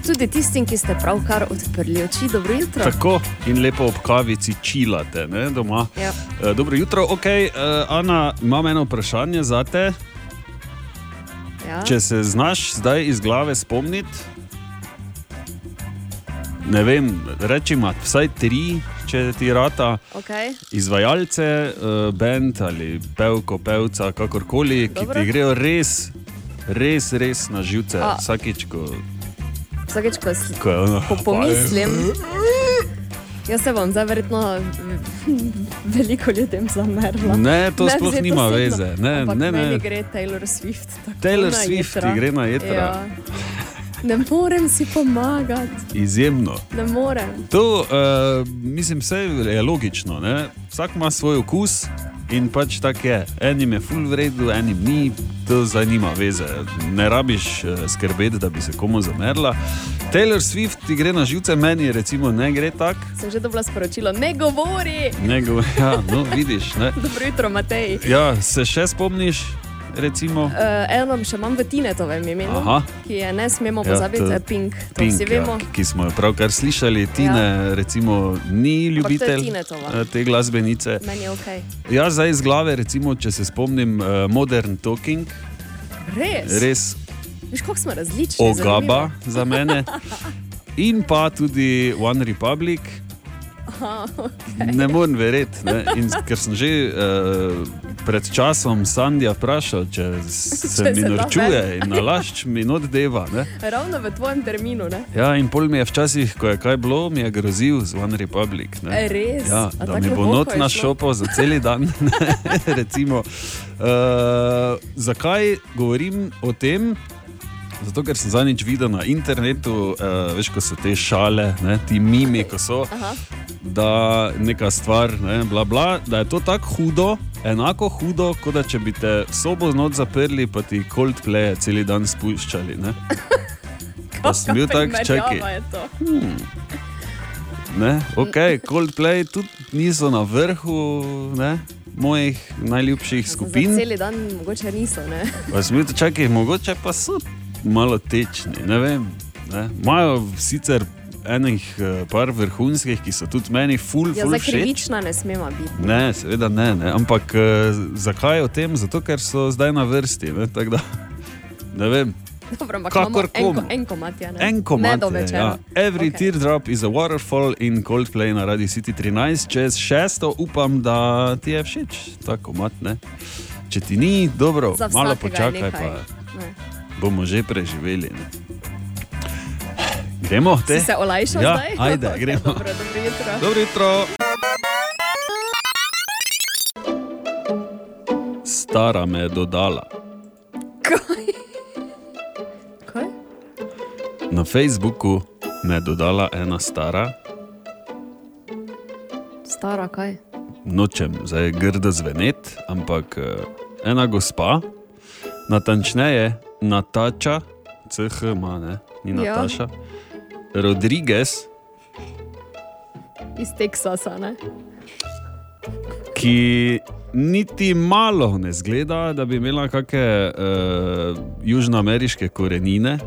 Speaker 4: Tudi tistim, ki ste pravkar odprli oči, dobro jutro.
Speaker 11: Tako in lepo ob kavici čilate ne, doma.
Speaker 4: Ja.
Speaker 11: Eh, Dobro jutro, ok. eh, Ana, imam eno vprašanje za te.
Speaker 4: Ja.
Speaker 11: Če se znaš zdaj iz glave spomniti, ne vem, rečemo vsaj tri, če ti rata.
Speaker 4: Okay.
Speaker 11: izvajalce, eh, bend ali pevko, pevca, kakorkoli, ki
Speaker 4: Dobro.
Speaker 11: ti grejo res, res, res na živce.
Speaker 4: A.
Speaker 11: Vsakič, ko,
Speaker 4: Vsakeč, ko s-
Speaker 11: ko je ono.
Speaker 4: ko pomislim, jaz se bom zdaj verjetno veliko ljudem zamerila.
Speaker 11: Ne, to
Speaker 4: Ne,
Speaker 11: sploh
Speaker 4: zdaj
Speaker 11: nima
Speaker 4: posebno.
Speaker 11: veze. Ne,
Speaker 4: no. Ampak
Speaker 11: ne,
Speaker 4: meni
Speaker 11: ne.
Speaker 4: gre Taylor Swift. tako
Speaker 11: Taylor
Speaker 4: na
Speaker 11: Swift
Speaker 4: jetra.
Speaker 11: ti gre na jetra.
Speaker 4: Ja. Ne morem si pomagati,
Speaker 11: Izjemno.
Speaker 4: ne morem.
Speaker 11: To, uh, mislim, vse je logično. Ne? Vsak ima svoj okus in pač tako je. Enim je full vredu, enim ni, to zdaj nima veze. Ne rabiš uh, skrbeti, da bi se komu zamerla. Taylor Swift ti gre na živce, meni recimo ne gre tako.
Speaker 4: Sem že dobila sporočilo, ne govori.
Speaker 11: Ne govori, ja, no, vidiš. Ne?
Speaker 4: Dobro jutro, Matej.
Speaker 11: Ja, se še spomniš, recimo.
Speaker 4: Uh, eno še imam v Tinetovem imenu,
Speaker 11: Aha.
Speaker 4: ki je ne smemo
Speaker 11: Ja,
Speaker 4: pozabiti,
Speaker 11: to-
Speaker 4: ja, Pink, no. to
Speaker 11: Pink,
Speaker 4: vsi vemo.
Speaker 11: ja, ki smo jo pravkar slišali, Tine, ja. recimo, ni
Speaker 4: Ampak to je
Speaker 11: ljubitelj
Speaker 4: Tinetova.
Speaker 11: eh, te glasbenice.
Speaker 4: Meni je ok.
Speaker 11: Jaz Ja, zdaj iz glave, recimo, če se spomnim eh, Modern Talking,
Speaker 4: Res.
Speaker 11: res
Speaker 4: Viš, kako smo različni.
Speaker 11: ogaba za mene. In pa tudi One Republic,
Speaker 4: zanimivo.
Speaker 11: ne morem verjeti. ne. In Ker sem že uh, pred časom Sandija vprašal, če
Speaker 4: Če
Speaker 11: se
Speaker 4: se
Speaker 11: mi
Speaker 4: da
Speaker 11: norčuje
Speaker 4: ven.
Speaker 11: in nalašč mi not deva. Ne?
Speaker 4: Aha, Ravno v tvojem terminu, ne?
Speaker 11: Ja, in pol mi je včasih, ko je kaj bilo, mi je grozil z One Republic. Ne?
Speaker 4: Res?
Speaker 11: Ja,
Speaker 4: A
Speaker 11: da
Speaker 4: tako
Speaker 11: mi bo
Speaker 4: globoko
Speaker 11: not
Speaker 4: je šlo?
Speaker 11: našopo za cel dan. Recimo, uh, zakaj govorim o tem? Zato, ker sem zadnjič videl na internetu, uh, veš, ko so te šale, ne, ti mimi, ko so,
Speaker 4: Aha.
Speaker 11: da neka stvar, ne, bla, bla, da je to tako hudo, enako hudo, kot da če bi te v sobo not zaprli, pa ti Coldplay cel dan spuščali. Ne. Pa sem bil tak, čakaj.
Speaker 4: primerjava je to?
Speaker 11: Ne? Ok, Coldplay tudi niso na vrhu ne? mojih najljubših
Speaker 4: Za
Speaker 11: skupin.
Speaker 4: cel dan mogoče niso, ne?
Speaker 11: Pa sem bil čakaj, mogoče pa so malo tečni, ne vem. ne. Imajo sicer enih eh, par vrhunskih, ki so tudi meni ful,
Speaker 4: Ja,
Speaker 11: ful
Speaker 4: za
Speaker 11: všeč.
Speaker 4: krivična ne smemo biti.
Speaker 11: Ne, seveda ne, ne. ampak eh, zakaj o tem? Zato, ker so zdaj na vrsti. Ne, tako da, ne vem.
Speaker 4: Dobro, ampak
Speaker 11: Kakor
Speaker 4: imamo en, ko-
Speaker 11: komu.
Speaker 4: en komat, ja, ne?
Speaker 11: En
Speaker 4: ne
Speaker 11: komat.
Speaker 4: do
Speaker 11: je,
Speaker 4: večera.
Speaker 11: Ja. Every okay. teardrop is a waterfall in Coldplay na Radio City 13. Čez šesto upam, da ti je všeč ta komat. Ne? Če ti ni, dobro,
Speaker 4: Za vsakega je
Speaker 11: malo počakaj,
Speaker 4: nekaj.
Speaker 11: pa
Speaker 4: Ne.
Speaker 11: bomo že preživeli. Ne? Gremo, te.
Speaker 4: Si se olajšal
Speaker 11: ja,
Speaker 4: zdaj?
Speaker 11: Ajde, gremo.
Speaker 4: Dobro, dobro jutro.
Speaker 11: Dobro jutro. Stara me je dodala.
Speaker 4: Kaj? Kaj?
Speaker 11: Na Facebooku me je dodala ena stara,
Speaker 4: Stara, kaj?
Speaker 11: nočem zdaj grdo zveneti, ampak eh, ena gospa, natančneje Natača, CH ima, ne, ni
Speaker 4: Ja.
Speaker 11: Nataša, Rodriguez.
Speaker 4: Iz Teksasa, ne?
Speaker 11: ki niti malo ne zgleda, da bi imela kakšne uh, južnoameriške korenine,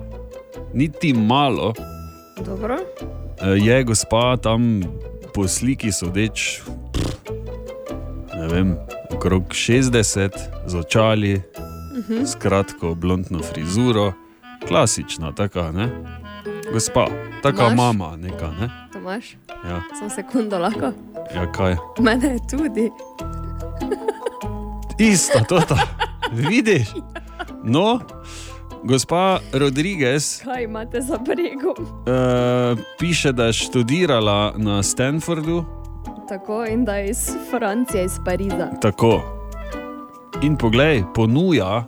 Speaker 11: niti malo.
Speaker 4: Dobro.
Speaker 11: Uh, je gospa tam po sliki sodeč, pff, ne vem, okrog 60, z očali,
Speaker 4: Mhm.
Speaker 11: s kratko blondno frizuro, klasična, taka, ne? Gospa, taka
Speaker 4: Imaš?
Speaker 11: mama, neka, ne?
Speaker 4: Tomaš,
Speaker 11: Ja,
Speaker 4: samo sekundo lahko.
Speaker 11: ja kaj.
Speaker 4: Mene je tudi.
Speaker 11: Isto, to je. Vidiš? No, gospa Rodriguez
Speaker 4: Kaj imate za bregom?
Speaker 11: uh, piše, da je študirala na Stanfordu,
Speaker 4: Tako in da je iz Francije, iz Pariza.
Speaker 11: tako. In poglej, ponuja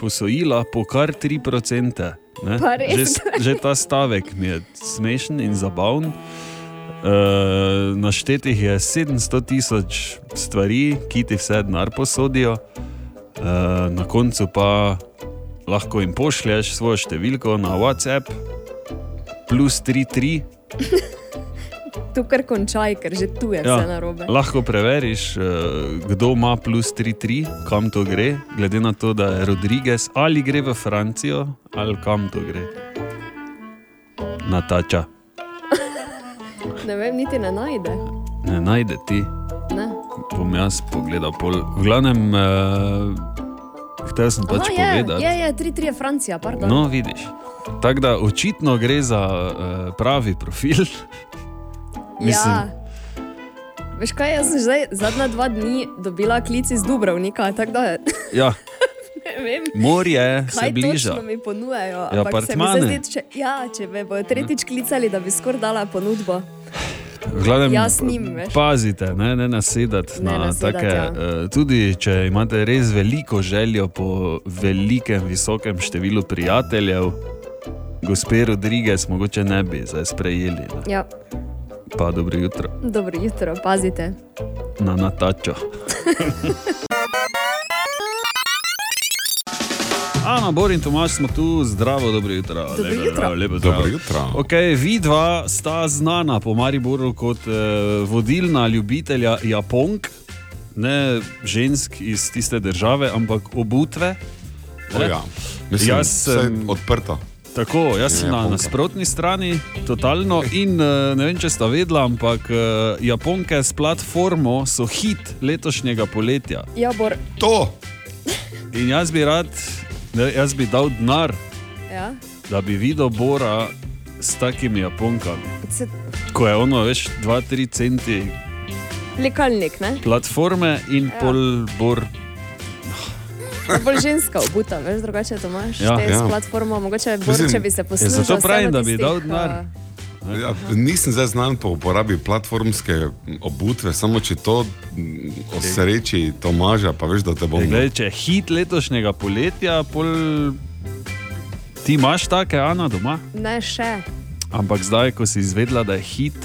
Speaker 11: posojila po kar 3%. ne.
Speaker 4: Pa res,
Speaker 11: Že, s-
Speaker 4: kaj?
Speaker 11: že ta stavek mi je smešen in zabaven. Uh, naštetih je 700 tisoč stvari, ki ti vse denar posodijo, uh, na koncu pa lahko jim pošlješ svojo številko na WhatsApp, plus 33,
Speaker 4: Tu kar končaj, ker že tu je vse narobe.
Speaker 11: Ja. lahko preveriš, eh, kdo ima plus 3-3, kam to gre, glede na to, da je Rodriguez ali gre v Francijo, ali kam to gre. Natača,
Speaker 4: Ne vem, niti ne najde.
Speaker 11: ne najde ti,
Speaker 4: Ne.
Speaker 11: bom jaz pogledal pol. V glavnem, uh, hotel sem
Speaker 4: Aha,
Speaker 11: pač
Speaker 4: je,
Speaker 11: povedati.
Speaker 4: je, je, 3-3 je Francija, pardon.
Speaker 11: No, vidiš. Tako da očitno gre za uh, pravi profil. Mislim,
Speaker 4: Ja. Veš kaj, jaz sem zdaj zadnja dva dni dobila klic iz Dubrovnika, tako da
Speaker 11: ja,
Speaker 4: ne vem.
Speaker 11: morje se
Speaker 4: Kaj
Speaker 11: bliža.
Speaker 4: točno mi ponujajo?
Speaker 11: Ja,
Speaker 4: ampak se mi zdaj
Speaker 11: apartmane. Mhm.
Speaker 4: zdi, če, ja, če me bodo tretjič klicali, da bi skoraj dala ponudbo.
Speaker 11: V Glavnem,
Speaker 4: Jaz Ja, njim, veš.
Speaker 11: pazite, ne, ne nasedati
Speaker 4: Ne
Speaker 11: na
Speaker 4: nasedati,
Speaker 11: take.
Speaker 4: ja.
Speaker 11: eh, Tudi če imate res veliko željo po velikem, visokem številu prijateljev, gospe Rodriguez, mogoče ne bi zdaj sprejeli. Ne.
Speaker 4: Ja,
Speaker 11: Pa dobro jutro
Speaker 4: dobro jutro, pazite.
Speaker 11: na Natačo. Ana, Bor in Tomaš smo tu, zdravo, dobro jutro.
Speaker 4: Dobro
Speaker 11: lepo
Speaker 4: jutro.
Speaker 11: zdrav, lepo zdrav.
Speaker 6: Dobro jutro.
Speaker 11: Okay, vidva sta znana po Mariboru kot eh, vodilna ljubitelja Japonk, ne žensk iz tiste države, ampak obutve.
Speaker 6: O
Speaker 3: Torej,
Speaker 11: ne.
Speaker 6: ja. Mislim,
Speaker 11: Jaz
Speaker 6: vse je
Speaker 11: sem-
Speaker 6: odprto.
Speaker 11: Tako, jaz sem na
Speaker 6: Japonka.
Speaker 11: nasprotni strani, totalno. In eh, ne vem, če sta vedela, ampak eh, Japonke s platformo so hit letošnjega poletja.
Speaker 4: Ja, bor.
Speaker 6: To!
Speaker 11: In jaz bi rad, ne, jaz bi dal denar,
Speaker 4: Ja.
Speaker 11: da bi videl Bora s takimi Japonkami.
Speaker 4: Se-
Speaker 11: Ko je ono, veš, 2-3 centi
Speaker 4: Lekalnik, ne?
Speaker 11: platforme in
Speaker 4: Ja.
Speaker 11: ja. pol Bor.
Speaker 4: To je Bolj ženska obuta, veš, drugače to imaš.
Speaker 11: Ja,
Speaker 4: te
Speaker 11: ja.
Speaker 4: S platformo, mogoče bor,
Speaker 6: Mislim,
Speaker 4: če bi se poslušal.
Speaker 11: zato pravim, da bi dal denar.
Speaker 6: Ja, nisem zdaj znan po uporabi platformske obutve, samo če to m, osreči Tomaža, pa veš, da te bom.
Speaker 11: Je, Glej, če je hit letošnjega poletja, pol ti imaš take, Ana, doma.
Speaker 4: Ne, še.
Speaker 11: Ampak zdaj, ko si izvedela, da je hit,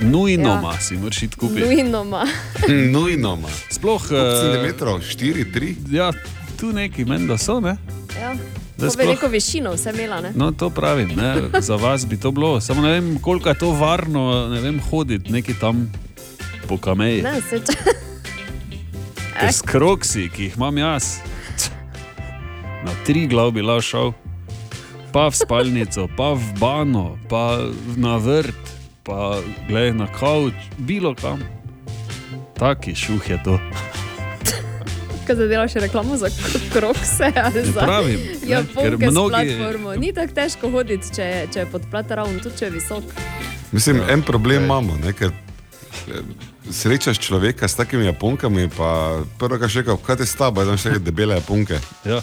Speaker 11: nujno
Speaker 4: Ja.
Speaker 11: ja. si moraš iti kupiti.
Speaker 4: Nujno ima.
Speaker 6: Nujno ima.
Speaker 11: Sploh eh,
Speaker 6: Centimetrov, 4, 3.
Speaker 11: ja, tu neki meni, da so. Ne?
Speaker 4: Ja.
Speaker 11: Da
Speaker 4: To bi
Speaker 11: sploh-
Speaker 4: rekel višino, vse imela, ne?
Speaker 11: No, to pravim, ne? za vas bi to bilo. Samo ne vem, koliko je to varno, ne vem, hoditi neki tam po kameji.
Speaker 4: Ne, se če.
Speaker 11: Ker S kroksi, ki jih imam jaz, na tri glav bi lahko šel. pa v spalnico, pa v bano, pa na vrt, pa glej na kavč, bilo kam. Taki šuh je to.
Speaker 4: Kaj zdaj delaš reklamo za krokse ali
Speaker 11: Ne
Speaker 4: za
Speaker 11: pravim, ne, ker
Speaker 4: japonske
Speaker 11: mnogi-
Speaker 4: mnogi... platformo? Ni tako težko hoditi, če, je- če je podplat ravno, tudi če je visok.
Speaker 6: Mislim,
Speaker 11: ja,
Speaker 6: en problem imamo, ne, ker eh, srečaš človeka s takimi japonkami, pa prvo, kar še rekel, kaj te staba, znaš reči, debele japonke.
Speaker 11: Ja.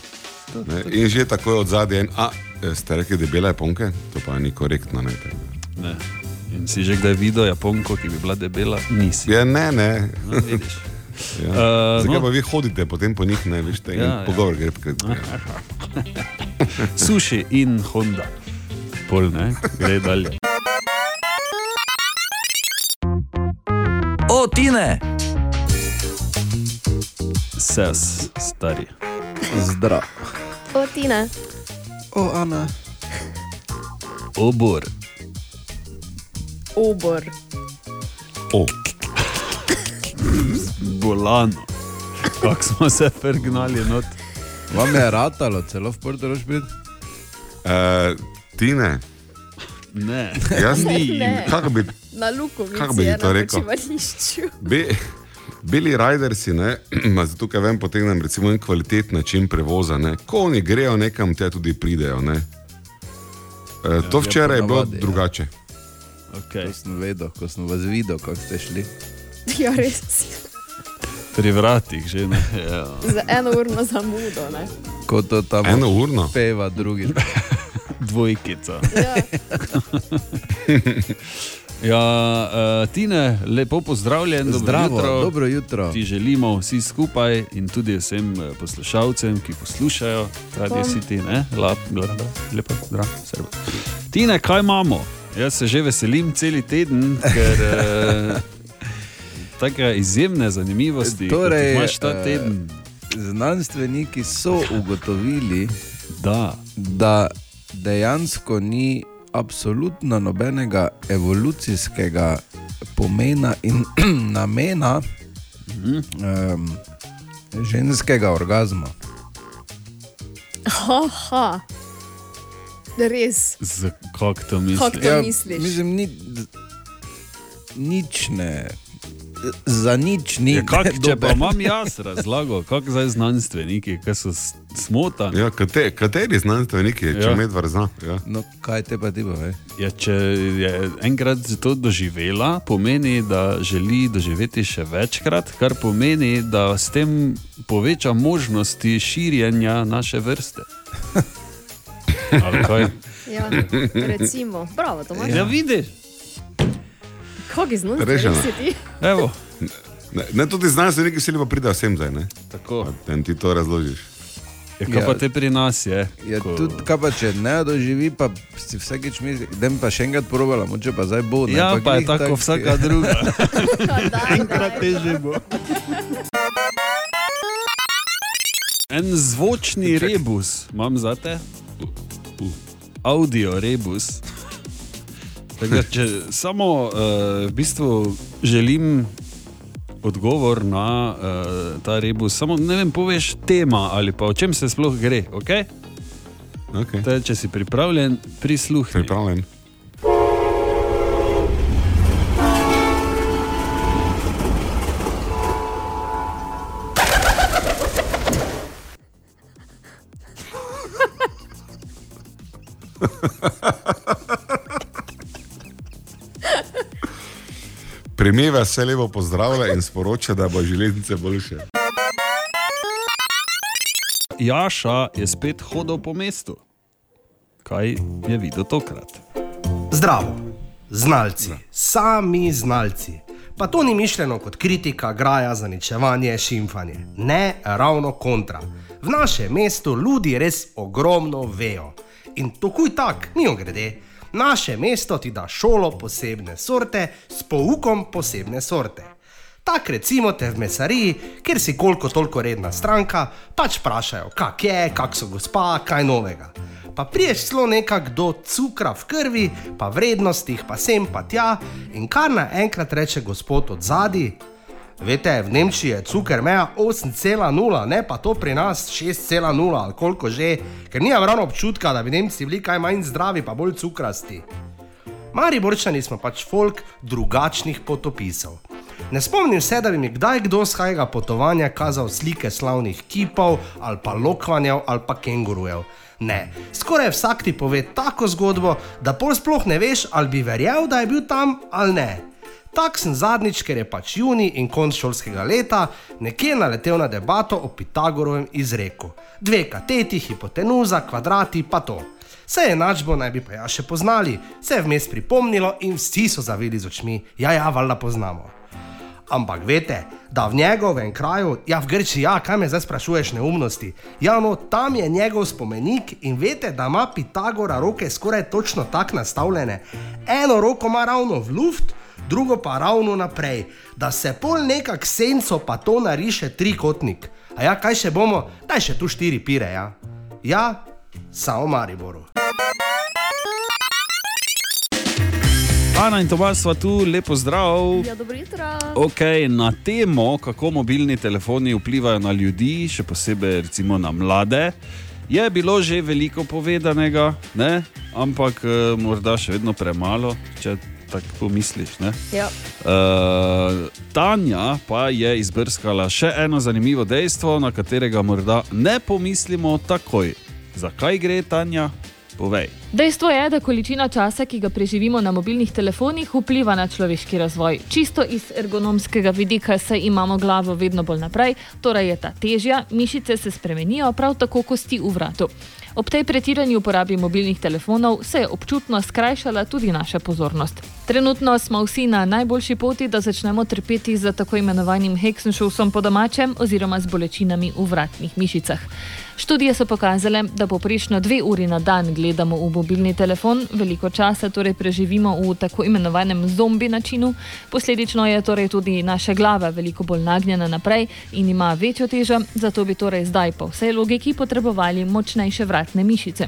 Speaker 6: Ne, in že takoj od zadaj en, a, eh, ste rekli debele japonke, to pa ni korektno. Ne, tako da.
Speaker 11: Ne. In si že kdaj videl Japonko, ki bi bila debela? Nisi.
Speaker 6: ja, ne, ne.
Speaker 11: No, vidiš.
Speaker 6: ja.
Speaker 11: Eh,
Speaker 6: uh, Zakaj
Speaker 11: no.
Speaker 6: no. pa vi hodite potem po njih, ne veš, te
Speaker 11: Ja,
Speaker 6: ja,
Speaker 11: ja.
Speaker 6: pogovor gre pred gre.
Speaker 11: Suši in Honda. Pol ne, gre dalje.
Speaker 1: O, Tine!
Speaker 11: Ses, stari.
Speaker 2: Zdrav.
Speaker 4: O, Tina,
Speaker 2: O, Ana.
Speaker 11: Obor.
Speaker 4: obor.
Speaker 6: O.
Speaker 11: Bolano. Kako smo se prgnali not.
Speaker 2: Vam je ratalo, celo v Portorož biti?
Speaker 6: Uh, ti ne,
Speaker 11: Ne.
Speaker 6: jaz
Speaker 4: Ni. Ne.
Speaker 6: Kako bi
Speaker 4: Na luku,
Speaker 6: Kako bi ti to rekel?
Speaker 4: počivališču.
Speaker 6: Be, bili rajdersi, ne, ma zato ker vem, potegnem recimo en kvalitet način prevoza. Ne. Ko oni grejo nekam, te tudi pridejo. Ne. E, to
Speaker 2: ja,
Speaker 6: včeraj je bilo
Speaker 2: ponavadi, ja.
Speaker 6: drugače.
Speaker 11: Okay.
Speaker 2: To sem vedel, ko sem vas videl, kako ste šli.
Speaker 4: Ja, res.
Speaker 11: Pri vratih že ne. Ja.
Speaker 4: Za eno urno zamudo. Ne?
Speaker 2: Ko to tam
Speaker 6: Eno urno.
Speaker 2: peva drugi.
Speaker 11: Dvojkica.
Speaker 4: Ja.
Speaker 11: Ja, uh, Tine, lepo pozdravljen, dobro
Speaker 2: Zdravo,
Speaker 11: jutro.
Speaker 2: dobro jutro.
Speaker 11: Ti želimo vsi skupaj in tudi vsem eh, poslušalcem, ki poslušajo, radio
Speaker 4: Bom.
Speaker 11: City, ne, lap, lap, lepo, zdrav, servo. Tine, kaj imamo? Jaz se že veselim cel teden, ker eh, tako izjemne zanimivosti, torej,
Speaker 2: Torej,
Speaker 11: ki jih imaš ta
Speaker 2: eh,
Speaker 11: teden.
Speaker 2: Znanstveniki so ugotovili,
Speaker 11: Da,
Speaker 2: da dejansko ni absolutno nobenega evolucijskega pomena in namena
Speaker 11: Mhm.
Speaker 2: um, ženskega orgazma.
Speaker 4: Aha. Res.
Speaker 11: kako to misliš?
Speaker 4: Kako to ja, misliš?
Speaker 2: Mislim, ni, nič ne. Za nič ni.
Speaker 11: Ja, kak, če pa
Speaker 2: dober.
Speaker 11: imam jaz razlago, kako zdaj znanstveniki, ki so s- smotani.
Speaker 6: Ja, kate, kateri znanstveniki, ja.
Speaker 11: Ja.
Speaker 6: če medvar zna? Ja.
Speaker 2: No, kaj te pa ti bo? Ve?
Speaker 11: Ja, če je enkrat to doživela, pomeni, da želi doživeti še večkrat, kar pomeni, da s tem poveča možnosti širjenja naše vrste. Ali kaj?
Speaker 4: Ja, recimo, bravo, to imaš.
Speaker 11: Ja, vidiš,
Speaker 4: Kako je znano,
Speaker 6: Rešeno.
Speaker 4: si ti?
Speaker 11: evo,
Speaker 6: Ne, ne, tudi znanstveniki vsi pa pridejo sem zdaj. Ne?
Speaker 11: tako.
Speaker 6: En ti to razložiš.
Speaker 11: Ja, kaj pa te pri nas je?
Speaker 2: Ja, tudi, kaj pa če ne doživi, pa si vsakeč misli, da bi pa še enkrat probala, moče pa zdaj bo. Ne?
Speaker 11: ja pa je
Speaker 2: glih
Speaker 11: tako
Speaker 2: tak-
Speaker 11: vsaka druga.
Speaker 4: Kaj, daj, daj.
Speaker 11: teže bo. En zvočni rebus imam za te, audio rebus. Tako, da, če samo uh, v bistvu želim odgovor na uh, ta rebus, samo ne vem, poveš tema ali pa o čem se sploh gre. Okay?
Speaker 6: Okay.
Speaker 11: Te, če si pripravljen, prisluhni.
Speaker 6: Pripravljen. Primeva se lepo pozdravlja in sporoča, da bo železnice boljše.
Speaker 11: Jaša je spet hodil po mestu. Kaj je videl tokrat?
Speaker 12: Zdravo, znalci, sami znalci. Pa to ni mišljeno kot kritika, graja, zaničevanje, šimfanje. Ne, ravno kontra. V našem mestu ljudje res ogromno vejo. In tokuj tak, ni ogrede. Naše mesto ti da šolo posebne sorte, s poukom posebne sorte. Tak recimo te v mesariji, kjer si koliko toliko redna stranka, pač vprašajo, kak je, kak so gospa, kaj novega. Pa priješ celo nekak do cukra v krvi, pa vrednostih, pa sem pa tja in kar naenkrat reče gospod od zadaj. Veste, v Nemčiji je cukor meja 8,0, ne pa to pri nas 6,0 ali koliko že, ker nimam ravno občutka, da bi Nemci bili kaj manj zdravi, pa bolj cukrasti. Mariborčani smo pač folk drugačnih potopisov. Ne spomnim se, da bi mi kdaj kdo z hajega potovanja kazal slike slavnih kipov ali pa lokvanjev ali pa kengurujev. Ne, skoraj vsak ti pove tako zgodbo, da pol sploh ne veš, ali bi verjel, da je bil tam ali ne. Tak sem zadnjič, ker je pač juni in konc šolskega leta, nekje naletel na debato o Pitagorovem izreku. Dve kateti, hipotenuza, kvadrati, pa to. Vse enačbo naj bi pa ja še poznali, se je vmes pripomnilo in vsi so zavili z očmi, ja, ja, valjda poznamo. Ampak veste, da v njegovem kraju, ja v Grčiji, ja, kaj me zdaj sprašuješ neumnosti, javno tam je njegov spomenik in veste, da ima Pitagora roke skoraj točno tako nastavljene. Eno roko ima ravno v luft, drugo pa ravno naprej, da se pol nekak senco pa to nariše trikotnik. A ja, kaj še bomo, daj še tu štiri pire, ja. Ja, samo Mariboru.
Speaker 11: 12 in Tomas sva tu, lepo zdrav.
Speaker 4: Ja, dobro jutro.
Speaker 11: Okay, na temo, kako mobilni telefoni vplivajo na ljudi, še posebej recimo na mlade, je bilo že veliko povedanega, ne? ampak eh, morda še vedno premalo, če tako pomisliš. Ne?
Speaker 4: Ja.
Speaker 11: Uh, Tanja pa je izbrskala še eno zanimivo dejstvo, na katerega morda ne pomislimo takoj. Zakaj gre Tanja? Povej.
Speaker 13: Dejstvo je, da količina časa, ki ga preživimo na mobilnih telefonih, vpliva na človeški razvoj. Čisto iz ergonomskega vidika, saj imamo glavo vedno bolj naprej, torej je ta težja, mišice se spremenijo, prav tako kosti v vratu. Ob tej pretirani uporabi mobilnih telefonov se je občutno skrajšala tudi naša pozornost. Trenutno smo vsi na najboljši poti, da začnemo trpeti za tako imenovanim Hexenšovsom po domačem oziroma z bolečinami v vratnih mišicah. Študije so pokazale, da poprečno dve uri na dan gledamo v mobilni telefon, veliko časa torej preživimo v tako imenovanem zombi načinu, posledično je torej tudi naša glava veliko bolj nagnjena naprej in ima večjo težo, zato bi torej zdaj po vsej logiki potrebovali močnejše vratne mišice.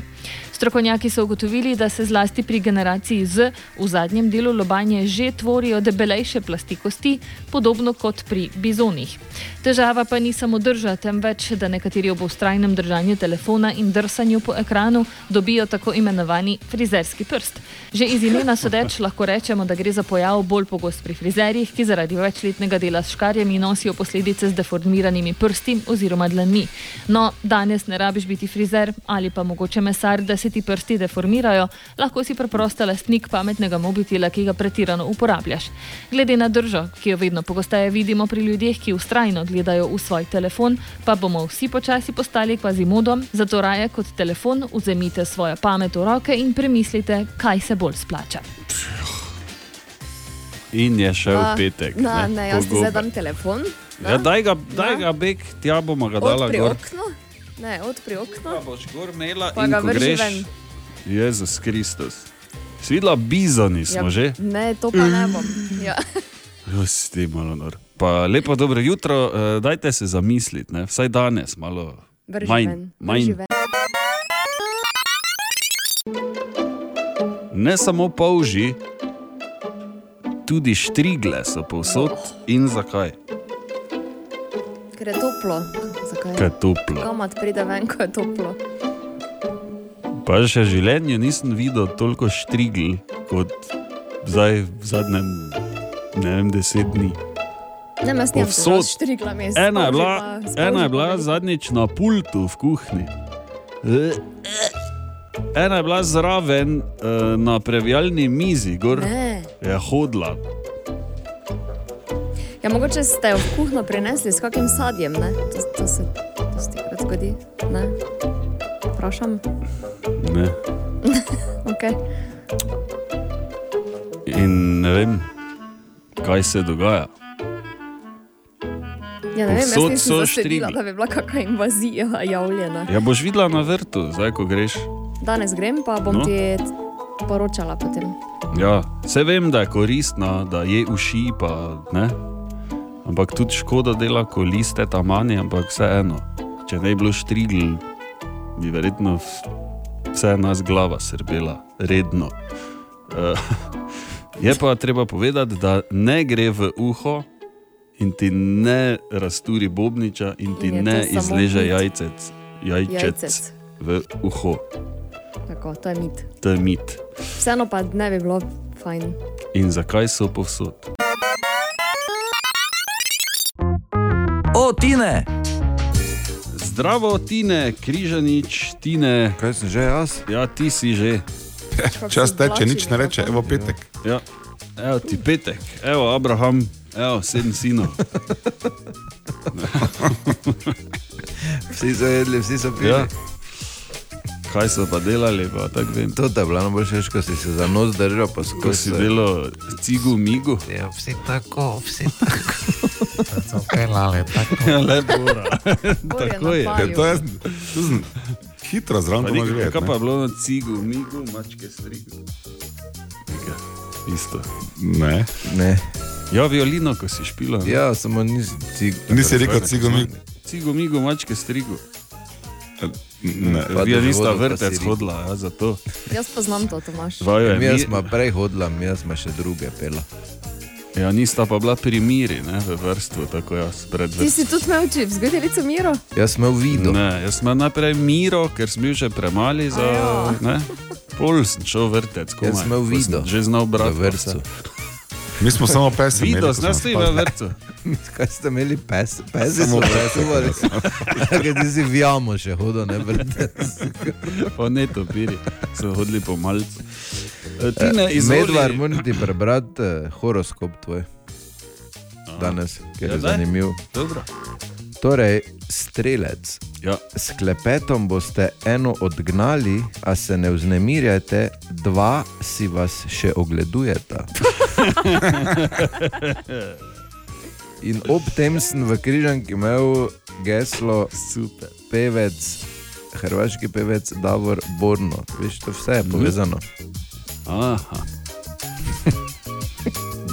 Speaker 13: Strokovnjaki so ugotovili, da se zlasti pri generaciji Z v zadnjem delu lobanje že tvorijo debelejše plasti kosti, podobno kot pri bizonih. Težava pa ni samo drža, temveč da nekateri ob ustrajnem držanju telefona in drsanju po ekranu dobijo tako imenovani frizerski prst. Že iz imena sodeč lahko rečemo, da gre za pojav bolj pogost pri frizerjih, ki zaradi večletnega dela s škarjami nosijo posledice z deformiranimi prsti oziroma dlanmi. No, danes ne rabiš biti frizer ali pa mogoče mesar, da se ti prsti deformirajo, lahko si preprosto lastnik pametnega mobitela, ki ga pretirano uporabljaš. Glede na držo, ki jo vedno pogosteje vidimo pri ljudeh, ki ustrajno gledajo v svoj telefon, pa bomo vsi počasi postali kvazimodom, zato raje kot telefon vzemite svojo pamet v roke in premislite, kaj se bolj splača.
Speaker 11: In je še v
Speaker 4: A,
Speaker 11: petek.
Speaker 4: Ah, Na,
Speaker 11: ne,
Speaker 4: ne, jaz ti
Speaker 11: pogobe.
Speaker 4: zdaj dam telefon. na.
Speaker 11: Ja, daj ga, daj ga bek, tja bomo ga dala
Speaker 4: Odpri
Speaker 11: gor.
Speaker 4: okno. Ne, odpri okno.
Speaker 11: Pa Ja, boš gor imela
Speaker 4: pa
Speaker 11: in
Speaker 4: ga
Speaker 11: ko
Speaker 4: vrži
Speaker 11: greš-
Speaker 4: ven.
Speaker 11: Jezus Kristus. Svidla bizoni smo
Speaker 4: Ja,
Speaker 11: ja. že.
Speaker 4: Ne, to pa ne bom. Ja.
Speaker 11: Pusti malo nor. Pa lepo dobro jutro, uh, dajte se zamisliti, ne? vsaj danes malo.
Speaker 4: Vrži ven, vrži
Speaker 11: manj.
Speaker 4: ven.
Speaker 11: Ne samo polži, tudi štrigle so povsod in zakaj.
Speaker 4: Ker je toplo. Zakaj?
Speaker 11: Ker je toplo.
Speaker 4: Komat pride ven, ko je toplo.
Speaker 11: Pa še v življenju nisem videl toliko štrigl kot zdaj v zadnjem, ne vem, deset dni.
Speaker 4: Ne, jaz nisem
Speaker 11: Povsod.
Speaker 4: štrigla mesta.
Speaker 11: Ena je bila, ena je bila zadnjič na pultu v kuhinji. Eh, Ena je bila zraven eh, na previjalni mizi, gor
Speaker 4: Ne.
Speaker 11: je hodila.
Speaker 4: Ja, mogoče ste jo v kuhno prinesli s kakim sadjem, ne? To, to se dosti krat zgodi, ne? Vprašam.
Speaker 11: Ne.
Speaker 4: okay.
Speaker 11: In ne vem, kaj se dogaja.
Speaker 4: Ja, ne vem, jaz
Speaker 11: Povsod so
Speaker 4: nisem zasledila,
Speaker 11: štrigli.
Speaker 4: da bi bila kakšna invazija javljena.
Speaker 11: Ja, boš videla na vrtu, zdaj ko greš.
Speaker 4: Danes grem, pa bom
Speaker 11: No.
Speaker 4: no. ti poročala potem.
Speaker 11: Ja, vse vem, da je koristna, da je uši, pa ne. Ampak tudi škoda dela, ko liste tam manj, ampak vseeno. Če ne bi bilo štrigl, bi verjetno v- vse nas glava srbela, redno. Eh, Je pa treba povedati, da ne gre v uho in ti ne rasturi bobniča, in ti
Speaker 4: In je
Speaker 11: in
Speaker 4: to
Speaker 11: ne
Speaker 4: samo
Speaker 11: izleže
Speaker 4: mit.
Speaker 11: jajcec, jajčec
Speaker 4: Jajcec.
Speaker 11: jajcec v uho,
Speaker 4: Tako, to je mit.
Speaker 11: to je mit.
Speaker 4: Vseeno pa ne bi bilo fajn.
Speaker 11: In zakaj so povsod?
Speaker 1: O, Tine!
Speaker 11: Zdravo, Tine, križanič, Tine.
Speaker 2: Kaj sem že jaz?
Speaker 11: Ja, ti si že.
Speaker 6: Čas teče, nič ne reče, evo petek.
Speaker 11: Ja. Evo ti petek, evo Abraham, evo sedem sinov.
Speaker 2: vsi so jedli, vsi so pili.
Speaker 11: Ja. Kaj so pa delali, pa tako vem.
Speaker 2: To je bila najboljša škoda, si se za nos držal, pa skozi.
Speaker 11: Ko si delo cigu, migu.
Speaker 2: Ja, vsi tako, vsi tako.
Speaker 11: pelale, tako. Ja, lepo, tako je.
Speaker 6: Ja, to je to sem hitro
Speaker 11: Pa
Speaker 6: zraven
Speaker 11: nikaj,
Speaker 6: živeti.
Speaker 11: Kaj pa je bilo na cigu, migu, mačke strigu? Nekaj, Isto.
Speaker 6: Ne.
Speaker 2: ne.
Speaker 11: Ja, violino, ko si špila. ne?
Speaker 2: Ja, samo nisi Torej, cigo.
Speaker 6: Nisi rekel cigo, mi.
Speaker 11: Cigu, migu, mačke strigu.
Speaker 6: Ne,
Speaker 11: Vi nista
Speaker 2: vodo, pa
Speaker 11: vrtec
Speaker 2: si ri.
Speaker 11: hodila, ja, zato.
Speaker 4: Jaz poznam to, Tomaš.
Speaker 11: Vaju je
Speaker 2: Mi
Speaker 11: mir-
Speaker 2: smo prej hodila, mi smo še druge pela.
Speaker 11: Ja, nista pa bila pri miri, ne, v vrstvu, tako jaz, pred
Speaker 4: Ti
Speaker 11: vrstvom.
Speaker 4: si tudi imel čip, zgodelico Miro.
Speaker 2: Jaz sem videl.
Speaker 11: Ne, jaz sem imel najprej miro, ker sem bil še premali za. Ne, pol sem šel vrtec, komaj.
Speaker 2: Jaz sem imel
Speaker 11: ko sem
Speaker 2: Vido
Speaker 11: Že znal brati
Speaker 2: v vrtcu.
Speaker 6: Mi smo samo pesi.
Speaker 11: Vido, znaš ti v vrtcu.
Speaker 2: Kaj ste imeli pes? Pesi
Speaker 11: Samo
Speaker 2: smo
Speaker 11: pese,
Speaker 6: ja,
Speaker 2: pesovali. Kaj ti si v jamo še hodil, ne vrte.
Speaker 11: Pa ne to piri, so hodili po malcu. E, Ti ne izvedel.
Speaker 2: Medvar, Eh, moram ti prebrati eh, horoskop tvoj. Danes,
Speaker 11: Ja,
Speaker 2: ker je
Speaker 11: daj.
Speaker 2: zanimiv.
Speaker 11: Dobro.
Speaker 2: Torej, strelec.
Speaker 11: Ja.
Speaker 2: S klepetom boste eno odgnali, a se ne vznemirjate, dva si vas še ogledujeta. In ob tem sem v Križanki imel geslo
Speaker 11: Super.
Speaker 2: pevec, hrvaški pevec Davor Borno. Veš, to vse je povezano.
Speaker 11: Aha.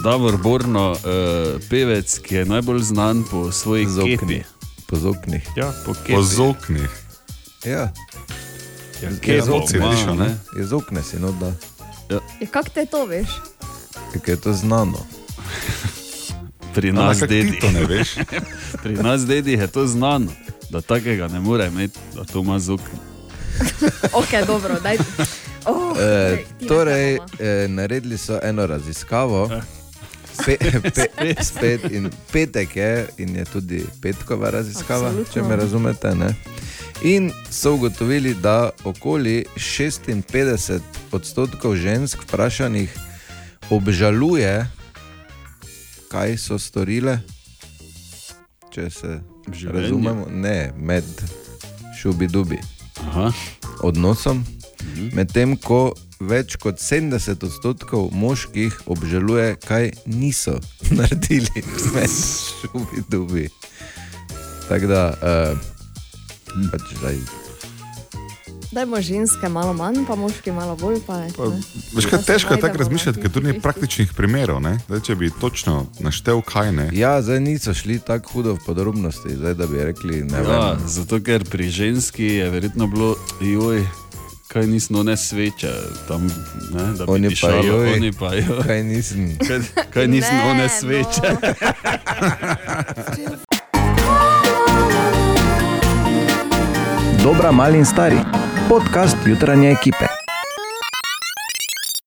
Speaker 11: Davor Borno, uh, pevec, ki je najbolj znan po svoji
Speaker 2: okni.
Speaker 11: kepi.
Speaker 2: Po zoknih.
Speaker 11: Ja, po kepi.
Speaker 6: Po zoknih.
Speaker 2: Ja.
Speaker 11: Ja,
Speaker 2: Z-
Speaker 11: kepo
Speaker 2: iz okne.
Speaker 11: ima, ne?
Speaker 2: Iz okne si, no da.
Speaker 4: Ja, kako te to veš?
Speaker 2: Ker je to znano.
Speaker 11: Pri
Speaker 2: No, Ampak
Speaker 11: nas,
Speaker 2: kako ti
Speaker 11: dedi.
Speaker 2: to ne veš?
Speaker 11: Pri nas, dedi, je to znano, da takega ne more imeti, da to ima zok.
Speaker 4: Ok, dobro, daj.
Speaker 6: Eh,
Speaker 4: Oh,
Speaker 2: E,
Speaker 4: ti
Speaker 2: torej, e, naredili so eno raziskavo. Pe, pe, spet in petek je, in je tudi petkova raziskava,
Speaker 1: Absolutno.
Speaker 2: če me razumete. Ne? In so ugotovili, da okoli 56 odstotkov žensk vprašanih obžaluje, kaj so storile, če se
Speaker 11: življenju.
Speaker 2: razumemo, ne med šubidubi
Speaker 11: Aha. Mhm.
Speaker 2: odnosom, medtem ko več kot 70 odstotkov moških obžaluje, kaj niso naredili med šubidubi. Tako da, uh,
Speaker 11: Mhm.
Speaker 2: pač zdaj.
Speaker 4: Dajmo ženske malo manj, pa moški malo bolj. Pa, ne.
Speaker 6: Veš kaj,
Speaker 4: Da se najdemo,
Speaker 6: težko je tako
Speaker 4: Ja, ne.
Speaker 6: razmišljati, ker tudi ni praktičnih primerov, ne? Zdaj, če bi točno naštel, kaj ne.
Speaker 2: Ja, zdaj niso šli tako hudo v podrobnosti, zdaj, da bi rekli,
Speaker 11: Ja,
Speaker 2: ne vem.
Speaker 11: zato, ker pri ženski je verjetno bilo, joj, kaj nismo ne sveče, tam, ne, da bi
Speaker 2: Oni pa,
Speaker 11: dišalo,
Speaker 2: joj,
Speaker 11: oni pa, joj.
Speaker 2: kaj nisem.
Speaker 11: Kaj, kaj nisem
Speaker 1: Ne,
Speaker 11: one
Speaker 1: no.
Speaker 11: sveče.
Speaker 1: Dobra, mali in stari. Podcast jutranje ekipe.